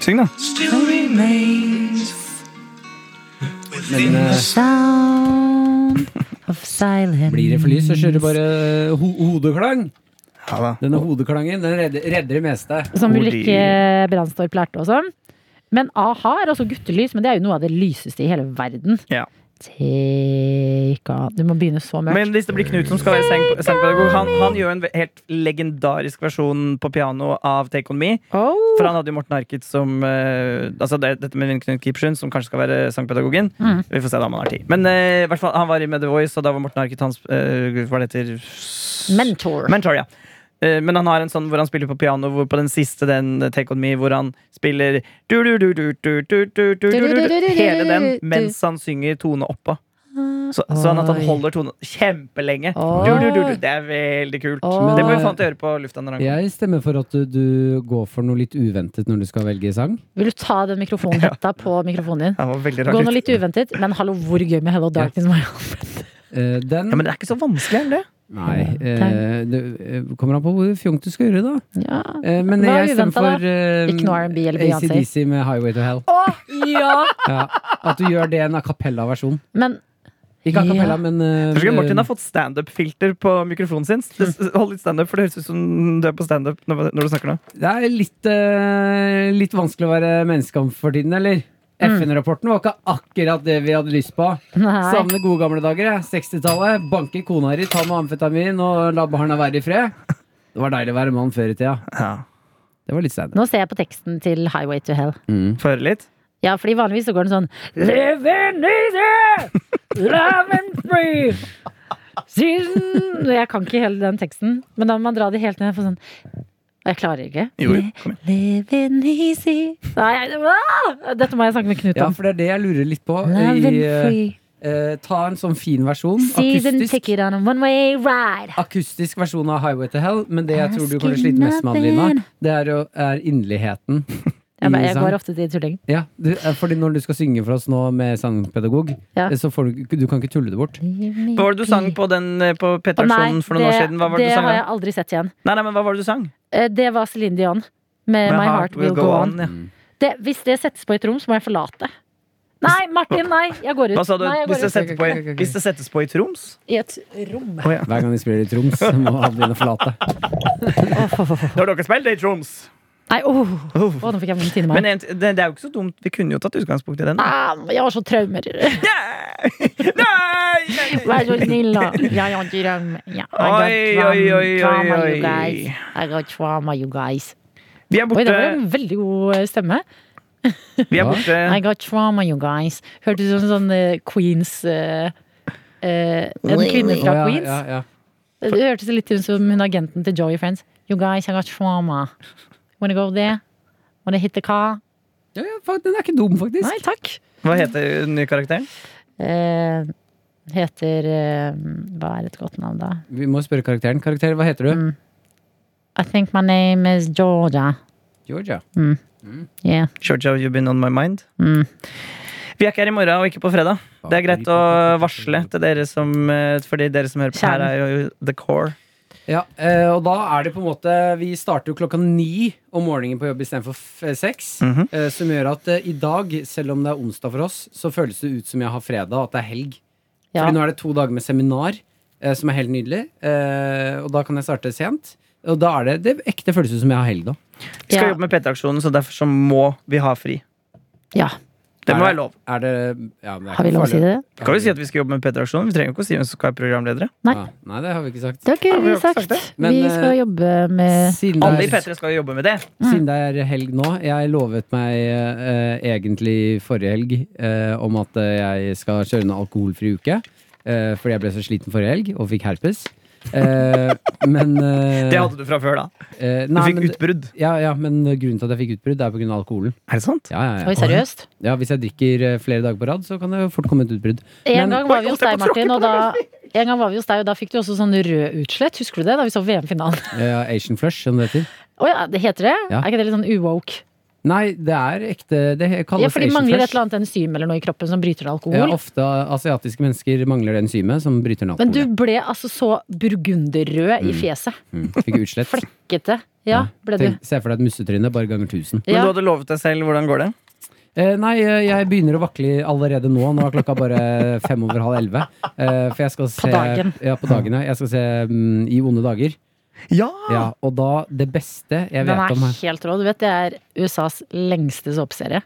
Speaker 7: Syng, da.
Speaker 2: Men eh,
Speaker 3: Sound of silence.
Speaker 2: blir det for lys, så kjører du bare eh, ho hodeklang.
Speaker 7: Ja, da.
Speaker 2: Denne hodeklangen den redder, redder det meste.
Speaker 3: Som
Speaker 7: Hvor de-
Speaker 3: Ulrikke Brandstorp lærte også. sånn. Men a-ha er også guttelys, men det er jo noe av det lyseste i hele verden.
Speaker 7: Ja.
Speaker 3: Take on Du må begynne så mørkt.
Speaker 7: Men hvis det blir Knut som skal være sang- sangpedagog, han, han gjør en ve- helt legendarisk versjon på piano av Take On Me.
Speaker 3: Oh.
Speaker 7: For han hadde jo Morten Arket som eh, Altså det, dette med Knut Kipsjøen, som kanskje skal være sangpedagogen. Vi får se da om han har tid. Men eh, i hvert fall, han var i Med The Voice, og da var Morten Arket hans eh, Hva det heter
Speaker 3: Mentor.
Speaker 7: Mentor, ja. Eh, Men han har en sånn hvor han spiller på piano, hvor på den siste, den eh, Take On Me, hvor han spiller Hele den mens han synger tone oppå. Så, sånn at han
Speaker 3: Oi.
Speaker 7: holder tonen kjempelenge.
Speaker 3: Oi.
Speaker 7: Du, du, du, du. Det er veldig kult.
Speaker 3: Oi.
Speaker 7: Det må vi faen til å gjøre på lufta. Når han kommer.
Speaker 2: Jeg stemmer for at du, du går for noe litt uventet når du skal velge sang.
Speaker 3: Vil du ta den mikrofonhetta på mikrofonen din?
Speaker 7: Han var veldig
Speaker 3: Gå
Speaker 7: rar.
Speaker 3: nå litt uventet, men hallo, hvor gøy med Hello Darkness? Ja.
Speaker 2: Eh, den
Speaker 7: Ja, men det er ikke så vanskelig, er det?
Speaker 2: Nei. eh, det eh, kommer an på hvor fjongt du skal gjøre, det, da.
Speaker 3: Ja.
Speaker 2: Eh, men
Speaker 3: Hva er
Speaker 2: jeg stemmer
Speaker 3: uventet, da?
Speaker 2: for eh,
Speaker 3: Ikke noe R&B eller Beyoncé.
Speaker 2: ACDC med Highway to Hell.
Speaker 3: ja.
Speaker 2: Ja. At du gjør det en a cappella-versjon.
Speaker 3: Men
Speaker 2: Ikke a cappella,
Speaker 3: Ja.
Speaker 2: men eh,
Speaker 7: Kanskje Mortin
Speaker 2: eh,
Speaker 7: har fått standup-filter på mikrofonen sin? Det- Hold litt standup, for det høres ut som du er på standup når, når du snakker nå.
Speaker 2: Det er litt, eh, litt vanskelig å være menneske om for tiden, eller? FN-rapporten var ikke akkurat det vi hadde lyst på.
Speaker 3: Nei.
Speaker 2: Savner gode gamle dager. jeg. 60-tallet. Banke kona di, ta med amfetamin og la barna være i fred. Det var deilig å være mann før i tida. Det var litt stein.
Speaker 3: nå ser jeg på teksten til Highway to Hell.
Speaker 7: Få høre litt.
Speaker 3: Ja, fordi vanligvis så går den sånn Live in easy, love and free Season Jeg kan ikke hele den teksten, men da må man dra det helt ned for sånn Jeg klarer ikke.
Speaker 7: Jo, jo, kom igjen.
Speaker 3: Live in easy Nei, ah! Dette må jeg snakke med Knut
Speaker 2: Ja,
Speaker 3: om.
Speaker 2: for det er det jeg lurer litt på.
Speaker 3: Love
Speaker 2: I,
Speaker 3: and free.
Speaker 2: eh, ta en sånn fin versón.
Speaker 3: Season
Speaker 2: Akustisk,
Speaker 3: ticket on a one way ride.
Speaker 2: akustisk versjon av Highway to Hell. Men det jeg tror du kommer til å slite mest
Speaker 3: Asking
Speaker 2: med, Adelina,
Speaker 3: nothing.
Speaker 2: det er, jo- er inderligheten.
Speaker 3: Jeg, bare, jeg
Speaker 2: Isang.
Speaker 3: går ofte til tulling.
Speaker 2: Ja, du, eh, fordi når du skal synge for oss nå med sangpedagog,
Speaker 3: Ja.
Speaker 2: eh, så får du, ikke- du kan ikke tulle det bort.
Speaker 7: Hva var det du sang på den eh, på
Speaker 3: Å, nei,
Speaker 7: P3-aksjonen for noen år
Speaker 3: det-
Speaker 7: siden? Hva var det
Speaker 3: det
Speaker 7: du sang
Speaker 3: har
Speaker 7: da?
Speaker 3: jeg aldri sett igjen.
Speaker 7: Nei, nei, men hva var det du sang?
Speaker 3: Eh, Det var Celine Dion med My Heart Will Go On.
Speaker 7: ja.
Speaker 3: Det, hvis det settes på i et rom, så må jeg forlate. Nei, Martin, nei! Jeg går ut.
Speaker 7: Hva sa du?
Speaker 3: Nei, jeg
Speaker 7: Hvis
Speaker 3: går
Speaker 7: det
Speaker 3: ut.
Speaker 7: settes på, i- hvis det settes på i Troms?
Speaker 3: I et rom.
Speaker 2: Hver gang de spiller i Troms, så må Adeline forlate.
Speaker 7: Når dere spilte i Troms!
Speaker 3: Nei, åh! Åh, nå fikk jeg vondt inni
Speaker 7: Oh. Men
Speaker 3: meg.
Speaker 7: en- det, det er jo ikke så dumt. Vi kunne jo tatt utgangspunkt i den. da.
Speaker 3: Ah, jeg har så traumer.
Speaker 7: Nei!
Speaker 3: Vær så snill, da. Jeg har traumer. Ja, I
Speaker 7: Oi,
Speaker 3: got
Speaker 7: oi, oi,
Speaker 3: trauma,
Speaker 7: oi,
Speaker 3: you
Speaker 7: oi.
Speaker 3: guys. I got trauma, you guys.
Speaker 7: Vi er
Speaker 3: Oi, det
Speaker 7: borte.
Speaker 3: var en veldig god eh, stemme.
Speaker 7: Vi er
Speaker 2: Ja.
Speaker 7: borte.
Speaker 3: I got trauma, you guys. Hørtes ut som sånn eh, Queens eh, eh, En kvinne
Speaker 2: Å,
Speaker 3: fra
Speaker 2: ja,
Speaker 3: Queens.
Speaker 2: ja, ja.
Speaker 3: Det hørtes litt ut som hun agenten til Joey Friends. You guys, I got trauma. Wanna go there? Wanna hit the car?
Speaker 2: Ja, ja, fuck, den er ikke dum, faktisk.
Speaker 3: Nei, takk.
Speaker 7: Hva heter den nye karakteren?
Speaker 3: Eh, heter eh, Hva er et godt navn, da?
Speaker 2: Vi må spørre karakteren. Karakter, hva heter du?
Speaker 3: Mm. I think my name is Georgia.
Speaker 2: Georgia.
Speaker 3: Yeah.
Speaker 7: Georgia, you've been on my mind.
Speaker 3: Mm.
Speaker 7: Vi er ikke her i morgen, og ikke på fredag. Det er greit å varsle til dere som eh, Fordi dere som hører på her, er jo the core.
Speaker 2: Ja, eh, og da er det på en måte Vi starter jo klokka ni om morgenen på jobb istedenfor f- seks.
Speaker 7: Mhm.
Speaker 2: eh, Som gjør at eh, i dag, selv om det er onsdag for oss, så føles det ut som jeg har fredag, at det er helg.
Speaker 3: Ja.
Speaker 2: Fordi nå er det to dager med seminar, eh, som er helt nydelig. eh, og da kan jeg starte sent. Og da er det, det ekte føles ut som jeg har helg, da.
Speaker 7: Vi skal
Speaker 3: Ja.
Speaker 7: jobbe med PT-aksjonen, så derfor så må vi ha fri.
Speaker 3: ja.
Speaker 7: Det må
Speaker 2: Er
Speaker 7: være lov.
Speaker 2: Er det ja, men det er
Speaker 3: Har vi
Speaker 2: ikke
Speaker 3: lov å
Speaker 2: farlig.
Speaker 3: si det?
Speaker 7: Kan vi si at vi skal jobbe med PT-aksjonen? Vi trenger jo ikke å si hvem som skal være programledere.
Speaker 3: Nei.
Speaker 2: Ja, nei, det har vi ikke sagt.
Speaker 3: Det har ikke
Speaker 7: Ja, vi
Speaker 3: vi
Speaker 7: har ikke sagt
Speaker 3: sagt.
Speaker 7: det.
Speaker 2: Men,
Speaker 3: vi skal
Speaker 2: eh,
Speaker 3: jobbe med
Speaker 2: Siden
Speaker 7: Alle i
Speaker 2: det er-
Speaker 7: P3 skal jo jobbe med det.
Speaker 3: Mm.
Speaker 2: Siden det er helg nå, jeg lovet meg eh, egentlig forrige helg eh, om at eh, jeg skal kjøre en alkoholfri uke. eh, fordi jeg ble så sliten forrige helg og fikk herpes. Eh, men eh,
Speaker 7: Det hadde du fra før, da.
Speaker 2: eh,
Speaker 7: Du
Speaker 2: nei,
Speaker 7: fikk
Speaker 2: men,
Speaker 7: utbrudd.
Speaker 2: ja, ja, men grunnen til at jeg fikk utbrudd, er pga. alkoholen.
Speaker 7: Er det sant?
Speaker 2: Ja, ja,
Speaker 3: Oi,
Speaker 2: ja.
Speaker 3: seriøst?
Speaker 2: ja, Hvis jeg drikker eh, flere dager på rad, så kan det jo fort komme et utbrudd.
Speaker 3: En
Speaker 2: Men-
Speaker 3: gang var vi
Speaker 7: Oi,
Speaker 3: hos
Speaker 7: holdt
Speaker 3: deg,
Speaker 7: jeg på å tråkke
Speaker 3: Martin,
Speaker 7: på
Speaker 3: og da, en gang var vi hos deg, og da fikk du også sånn rød utslett. Husker du det? Da vi så VM-finalen.
Speaker 2: Eh, Asian flush, som det heter.
Speaker 3: Å ja, det heter det?
Speaker 2: Ja.
Speaker 3: Er ikke det litt sånn uwoke?
Speaker 2: Nei, det er ekte Det kalles
Speaker 3: Ja, for de
Speaker 2: Asian
Speaker 3: mangler et
Speaker 2: flush.
Speaker 3: eller annet enzym eller noe i kroppen som bryter
Speaker 2: Ja,
Speaker 3: ned alkohol.
Speaker 2: ofte asiatiske mennesker mangler det enzymet som bryter ned
Speaker 3: Men du
Speaker 2: alkoholen.
Speaker 3: ble altså så burgunderrød i
Speaker 2: Mm.
Speaker 3: fjeset.
Speaker 2: Mm, fikk utslett.
Speaker 3: Flekkete. Ja, ble du.
Speaker 2: Tenk, se for deg et mussetryne, bare ganger 1000.
Speaker 7: Men
Speaker 3: Ja.
Speaker 7: du hadde lovet deg selv. Hvordan går det?
Speaker 2: Eh, nei, eh, jeg begynner å vakle allerede nå. Nå er klokka bare fem over halv elleve. Eh, for jeg skal se
Speaker 3: dagen.
Speaker 2: Ja, på dagen, ja. Jeg skal se mm, I onde dager.
Speaker 7: Ja!
Speaker 2: Ja, og da det beste jeg
Speaker 3: Den
Speaker 2: vet
Speaker 3: er
Speaker 2: om her
Speaker 3: helt rå. Du vet det er USAs lengste såpeserie.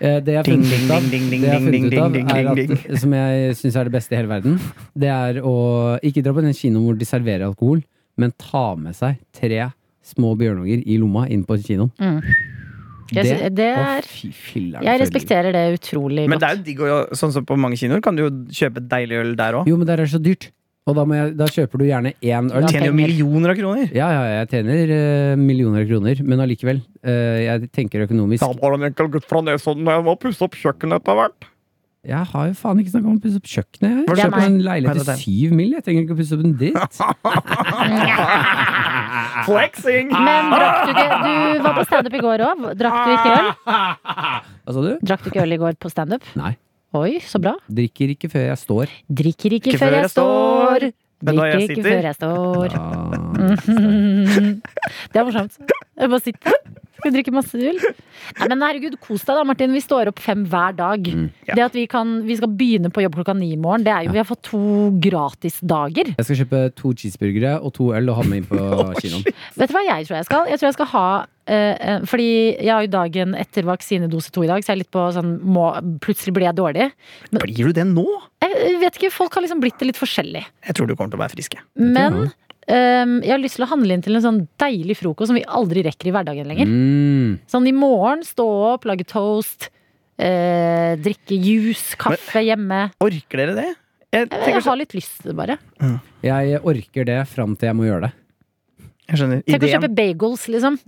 Speaker 2: eh, Det jeg har
Speaker 7: Ding,
Speaker 2: funnet
Speaker 7: ding,
Speaker 2: ut av,
Speaker 7: ding, ding,
Speaker 2: det jeg har
Speaker 7: ding,
Speaker 2: funnet ut av
Speaker 7: ding,
Speaker 2: er
Speaker 7: ding,
Speaker 2: at, som jeg syns er det beste i hele verden, det er å ikke dra på den kinoen hvor de serverer alkohol, men ta med seg tre små bjørnunger i lomma inn på kinoen.
Speaker 3: Mm. Jeg sy- det
Speaker 2: å,
Speaker 3: er-
Speaker 2: fy, filleren,
Speaker 3: Jeg
Speaker 2: føler-
Speaker 3: respekterer det utrolig
Speaker 7: Men det
Speaker 3: godt.
Speaker 7: er jo digg, å- sånn som på mange kinoer kan du jo kjøpe deilig øl der òg.
Speaker 2: Jo, men der er det så dyrt. Og da, må jeg, da kjøper du gjerne én øl.
Speaker 7: Du tjener
Speaker 3: penger.
Speaker 7: jo millioner av kroner.
Speaker 2: Ja, ja, jeg tjener eh, millioner av kroner, men allikevel. eh, jeg tenker økonomisk.
Speaker 7: var en enkel gutt fra Nesodden, og jeg må pusse opp kjøkkenet etter hvert.
Speaker 2: Jeg har jo faen ikke snakka om å pusse opp kjøkkenet. Jeg
Speaker 7: Hva
Speaker 2: kjøper
Speaker 3: skjer?
Speaker 2: en
Speaker 7: Nei,
Speaker 2: leilighet
Speaker 7: det er
Speaker 2: til syv mil. Jeg trenger ikke å pusse opp en dritt.
Speaker 7: Flexing!
Speaker 2: Ah!
Speaker 3: Men drakk du ikke Du var på standup i går òg. Drakk du ikke øl?
Speaker 2: Hva sa du?
Speaker 3: Drakk du ikke øl i går på standup?
Speaker 2: Nei.
Speaker 3: Oi, så bra.
Speaker 2: Drikker ikke før jeg står.
Speaker 3: Drikker ikke før jeg står.
Speaker 7: Men når
Speaker 3: Drikker
Speaker 7: jeg
Speaker 3: ikke
Speaker 7: sitter-
Speaker 3: før jeg står.
Speaker 2: Ah,
Speaker 3: Det er morsomt. Jeg bare sitter. Skal drikke masse øl. Nei, men herregud, kos deg da, Martin. Vi står opp fem hver dag.
Speaker 2: Mm.
Speaker 7: Ja.
Speaker 3: Det at vi, kan, vi skal begynne på jobb klokka ni i morgen, det er jo Vi har fått to gratisdager.
Speaker 2: jeg skal kjøpe to cheeseburgere og to øl og ha med inn på kinoen.
Speaker 3: Vet du hva jeg tror jeg skal? Jeg tror jeg skal ha eh, eh, Fordi jeg har jo dagen etter vaksinedose to i dag, så jeg er litt på sånn må, Plutselig blir jeg dårlig.
Speaker 7: Blir du det nå?
Speaker 3: Jeg eh, vet ikke, folk har liksom blitt det litt forskjellig.
Speaker 7: Jeg tror du kommer til å være frisk. jeg.
Speaker 3: Men ehm, jeg har lyst til å handle inn til en sånn deilig frokost som vi aldri rekker i hverdagen lenger.
Speaker 2: Mm.
Speaker 3: Sånn i morgen, stå opp, lage toast, eh, drikke juice, kaffe hjemme.
Speaker 7: Orker dere det? Jeg,
Speaker 3: Jeg,
Speaker 7: tenker,
Speaker 3: jeg
Speaker 7: så-
Speaker 3: har litt lyst til det, bare.
Speaker 2: Jeg orker det fram til jeg må gjøre det.
Speaker 7: jeg skjønner.
Speaker 3: Tenk å
Speaker 7: Ideen.
Speaker 3: kjøpe bagels, liksom.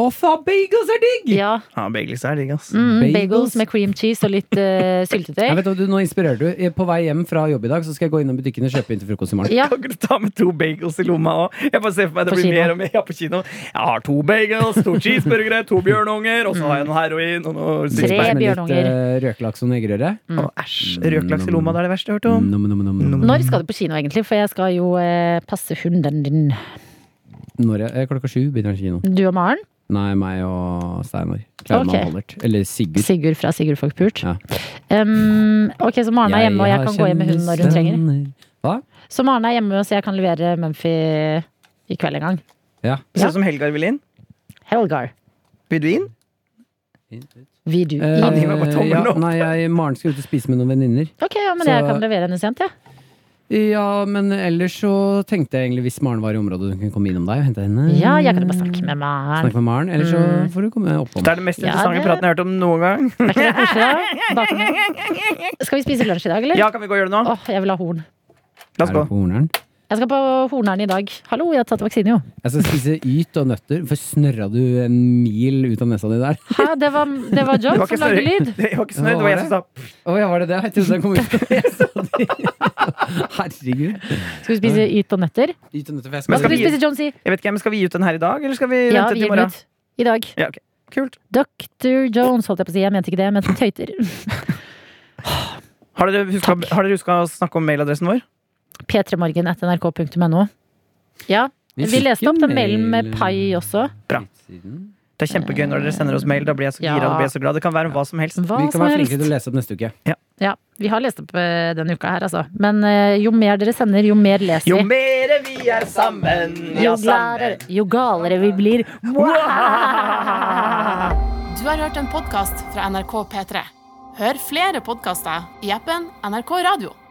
Speaker 2: Å, faen, bagels er digg!
Speaker 3: Ja,
Speaker 7: Ja, bagels er digg, ass.
Speaker 3: mm, bagels.
Speaker 2: Bagels?
Speaker 3: med cream cheese og litt eh,
Speaker 2: Jeg
Speaker 3: syltetøy.
Speaker 2: vet, hva du, nå inspirerer du. Jeg er På vei hjem fra jobb i dag så skal jeg gå innom butikken og kjøpe inn til frokost i morgen.
Speaker 3: Ja,
Speaker 7: Kan ikke du ta med to bagels i lomma òg? Jeg bare ser for meg det
Speaker 3: På
Speaker 7: blir
Speaker 3: kino.
Speaker 7: mer og mer. Ja, på kino. Jeg har to bagels, to cheeseburgere, to bjørnunger, og så
Speaker 3: Mm.
Speaker 7: har jeg noe heroin og noe
Speaker 3: Tre
Speaker 7: sixpack.
Speaker 2: Med litt
Speaker 3: bjørnunger.
Speaker 2: eh, røkelaks og negerøre.
Speaker 7: Å, Æsj. Røkelaks i lomma, det er det verste jeg har hørt om.
Speaker 3: Mm.
Speaker 2: Nom, nom, nom, nom.
Speaker 3: Når skal du på kino, egentlig? For jeg skal jo eh, passe hunden din.
Speaker 2: Når jeg, eh, klokka sju begynner kinoen.
Speaker 3: Du og Maren?
Speaker 2: Nei, meg og Steinar. Klarmann
Speaker 3: Ok.
Speaker 2: Hallert. Eller Sigurd.
Speaker 3: Sigurd fra Sigurd Folkpult.
Speaker 2: Ja.
Speaker 3: Um, ok, så Maren er hjemme, og jeg
Speaker 2: har
Speaker 3: kan gå hjem med hunden når hun trenger.
Speaker 2: kjendisvenner. Hva?
Speaker 3: Så Maren er hjemme, så jeg kan levere Mumphy i kveld en gang.
Speaker 2: Ja.
Speaker 7: Ser ut Sånn som Helgar vil inn.
Speaker 3: Helgar.
Speaker 7: Vil du inn?
Speaker 3: Vil du
Speaker 2: Eh,
Speaker 7: de var på tommelen
Speaker 2: ja,
Speaker 7: opp.
Speaker 2: nei, jeg, Maren skal ut og spise med noen venninner.
Speaker 3: Ok, ja, men
Speaker 2: så-
Speaker 3: jeg kan levere henne sent, jeg. Ja.
Speaker 2: Ja, men ellers så tenkte jeg egentlig hvis Maren var i området, hun kunne komme innom deg og hente henne.
Speaker 3: Ja, jeg kan jo bare Mm. snakke med Maren.
Speaker 2: Snakke med Maren, eller så får du komme oppom.
Speaker 7: Det er det mest
Speaker 3: Ja,
Speaker 7: interessante
Speaker 3: det-
Speaker 7: praten jeg har hørt om noen gang.
Speaker 3: Er ikke det koselig, da? Bakom- Skal vi spise lunsj i dag, eller?
Speaker 7: Ja, kan vi gå og gjøre det nå?
Speaker 3: Åh, jeg vil ha horn.
Speaker 7: La oss
Speaker 2: Er
Speaker 7: gå.
Speaker 2: du på Horneren?
Speaker 3: Jeg skal på Hornern i dag. Hallo, jeg har tatt vaksine, jo.
Speaker 4: Jeg skal spise yt og nøtter. Hvorfor snørra du en mil ut av nesa di der?
Speaker 3: Hæ, det var, det var John
Speaker 7: var ikke
Speaker 3: som lagde
Speaker 7: snø-
Speaker 3: lyd.
Speaker 7: Det var ikke snø, det var jeg som sa
Speaker 4: Å ja, var det det? Jeg trodde jeg kom ut av nesa di. Herregud.
Speaker 3: Skal vi spise yt og nøtter?
Speaker 4: Yt og nøtter, for jeg
Speaker 3: Hva
Speaker 7: Men
Speaker 4: skal,
Speaker 3: skal vi
Speaker 7: vi-
Speaker 3: spise, John? Si?
Speaker 7: Jeg vet ikke, men Skal vi gi ut den her i dag, eller skal vi
Speaker 3: Ja, vi
Speaker 7: vente til i
Speaker 3: gir den
Speaker 7: morgen?
Speaker 3: ut i dag.
Speaker 7: Ja, ok. Kult.
Speaker 3: Dr. Jones, holdt jeg på å si. Jeg mente ikke det, jeg mente tøyter.
Speaker 7: Har dere huska, har dere huska å snakke om mailadressen vår?
Speaker 3: p3morgen.nrk.no. Ja, vi,
Speaker 4: fikk
Speaker 3: leste
Speaker 4: en
Speaker 3: opp den mailen med
Speaker 4: mail,
Speaker 3: pai også.
Speaker 4: siden.
Speaker 7: Det er kjempegøy når dere sender oss mail. Da blir jeg så
Speaker 3: Ja.
Speaker 7: gira. Da blir jeg så glad. Det kan være om hva som helst.
Speaker 3: Hva
Speaker 4: Vi kan
Speaker 3: som
Speaker 4: være flinke
Speaker 3: helst.
Speaker 4: til å lese opp neste uke.
Speaker 3: Ja, vi har lest opp eh, denne uka her, altså. Men eh, jo mer dere sender, jo mer leser
Speaker 7: Jo
Speaker 3: vi.
Speaker 7: mere vi er sammen, ja,
Speaker 3: Jo, gladere,
Speaker 7: sammen.
Speaker 3: jo galere vi blir.
Speaker 1: Du har hørt en podkast fra NRK P3. Hør flere podkaster i appen NRK Radio.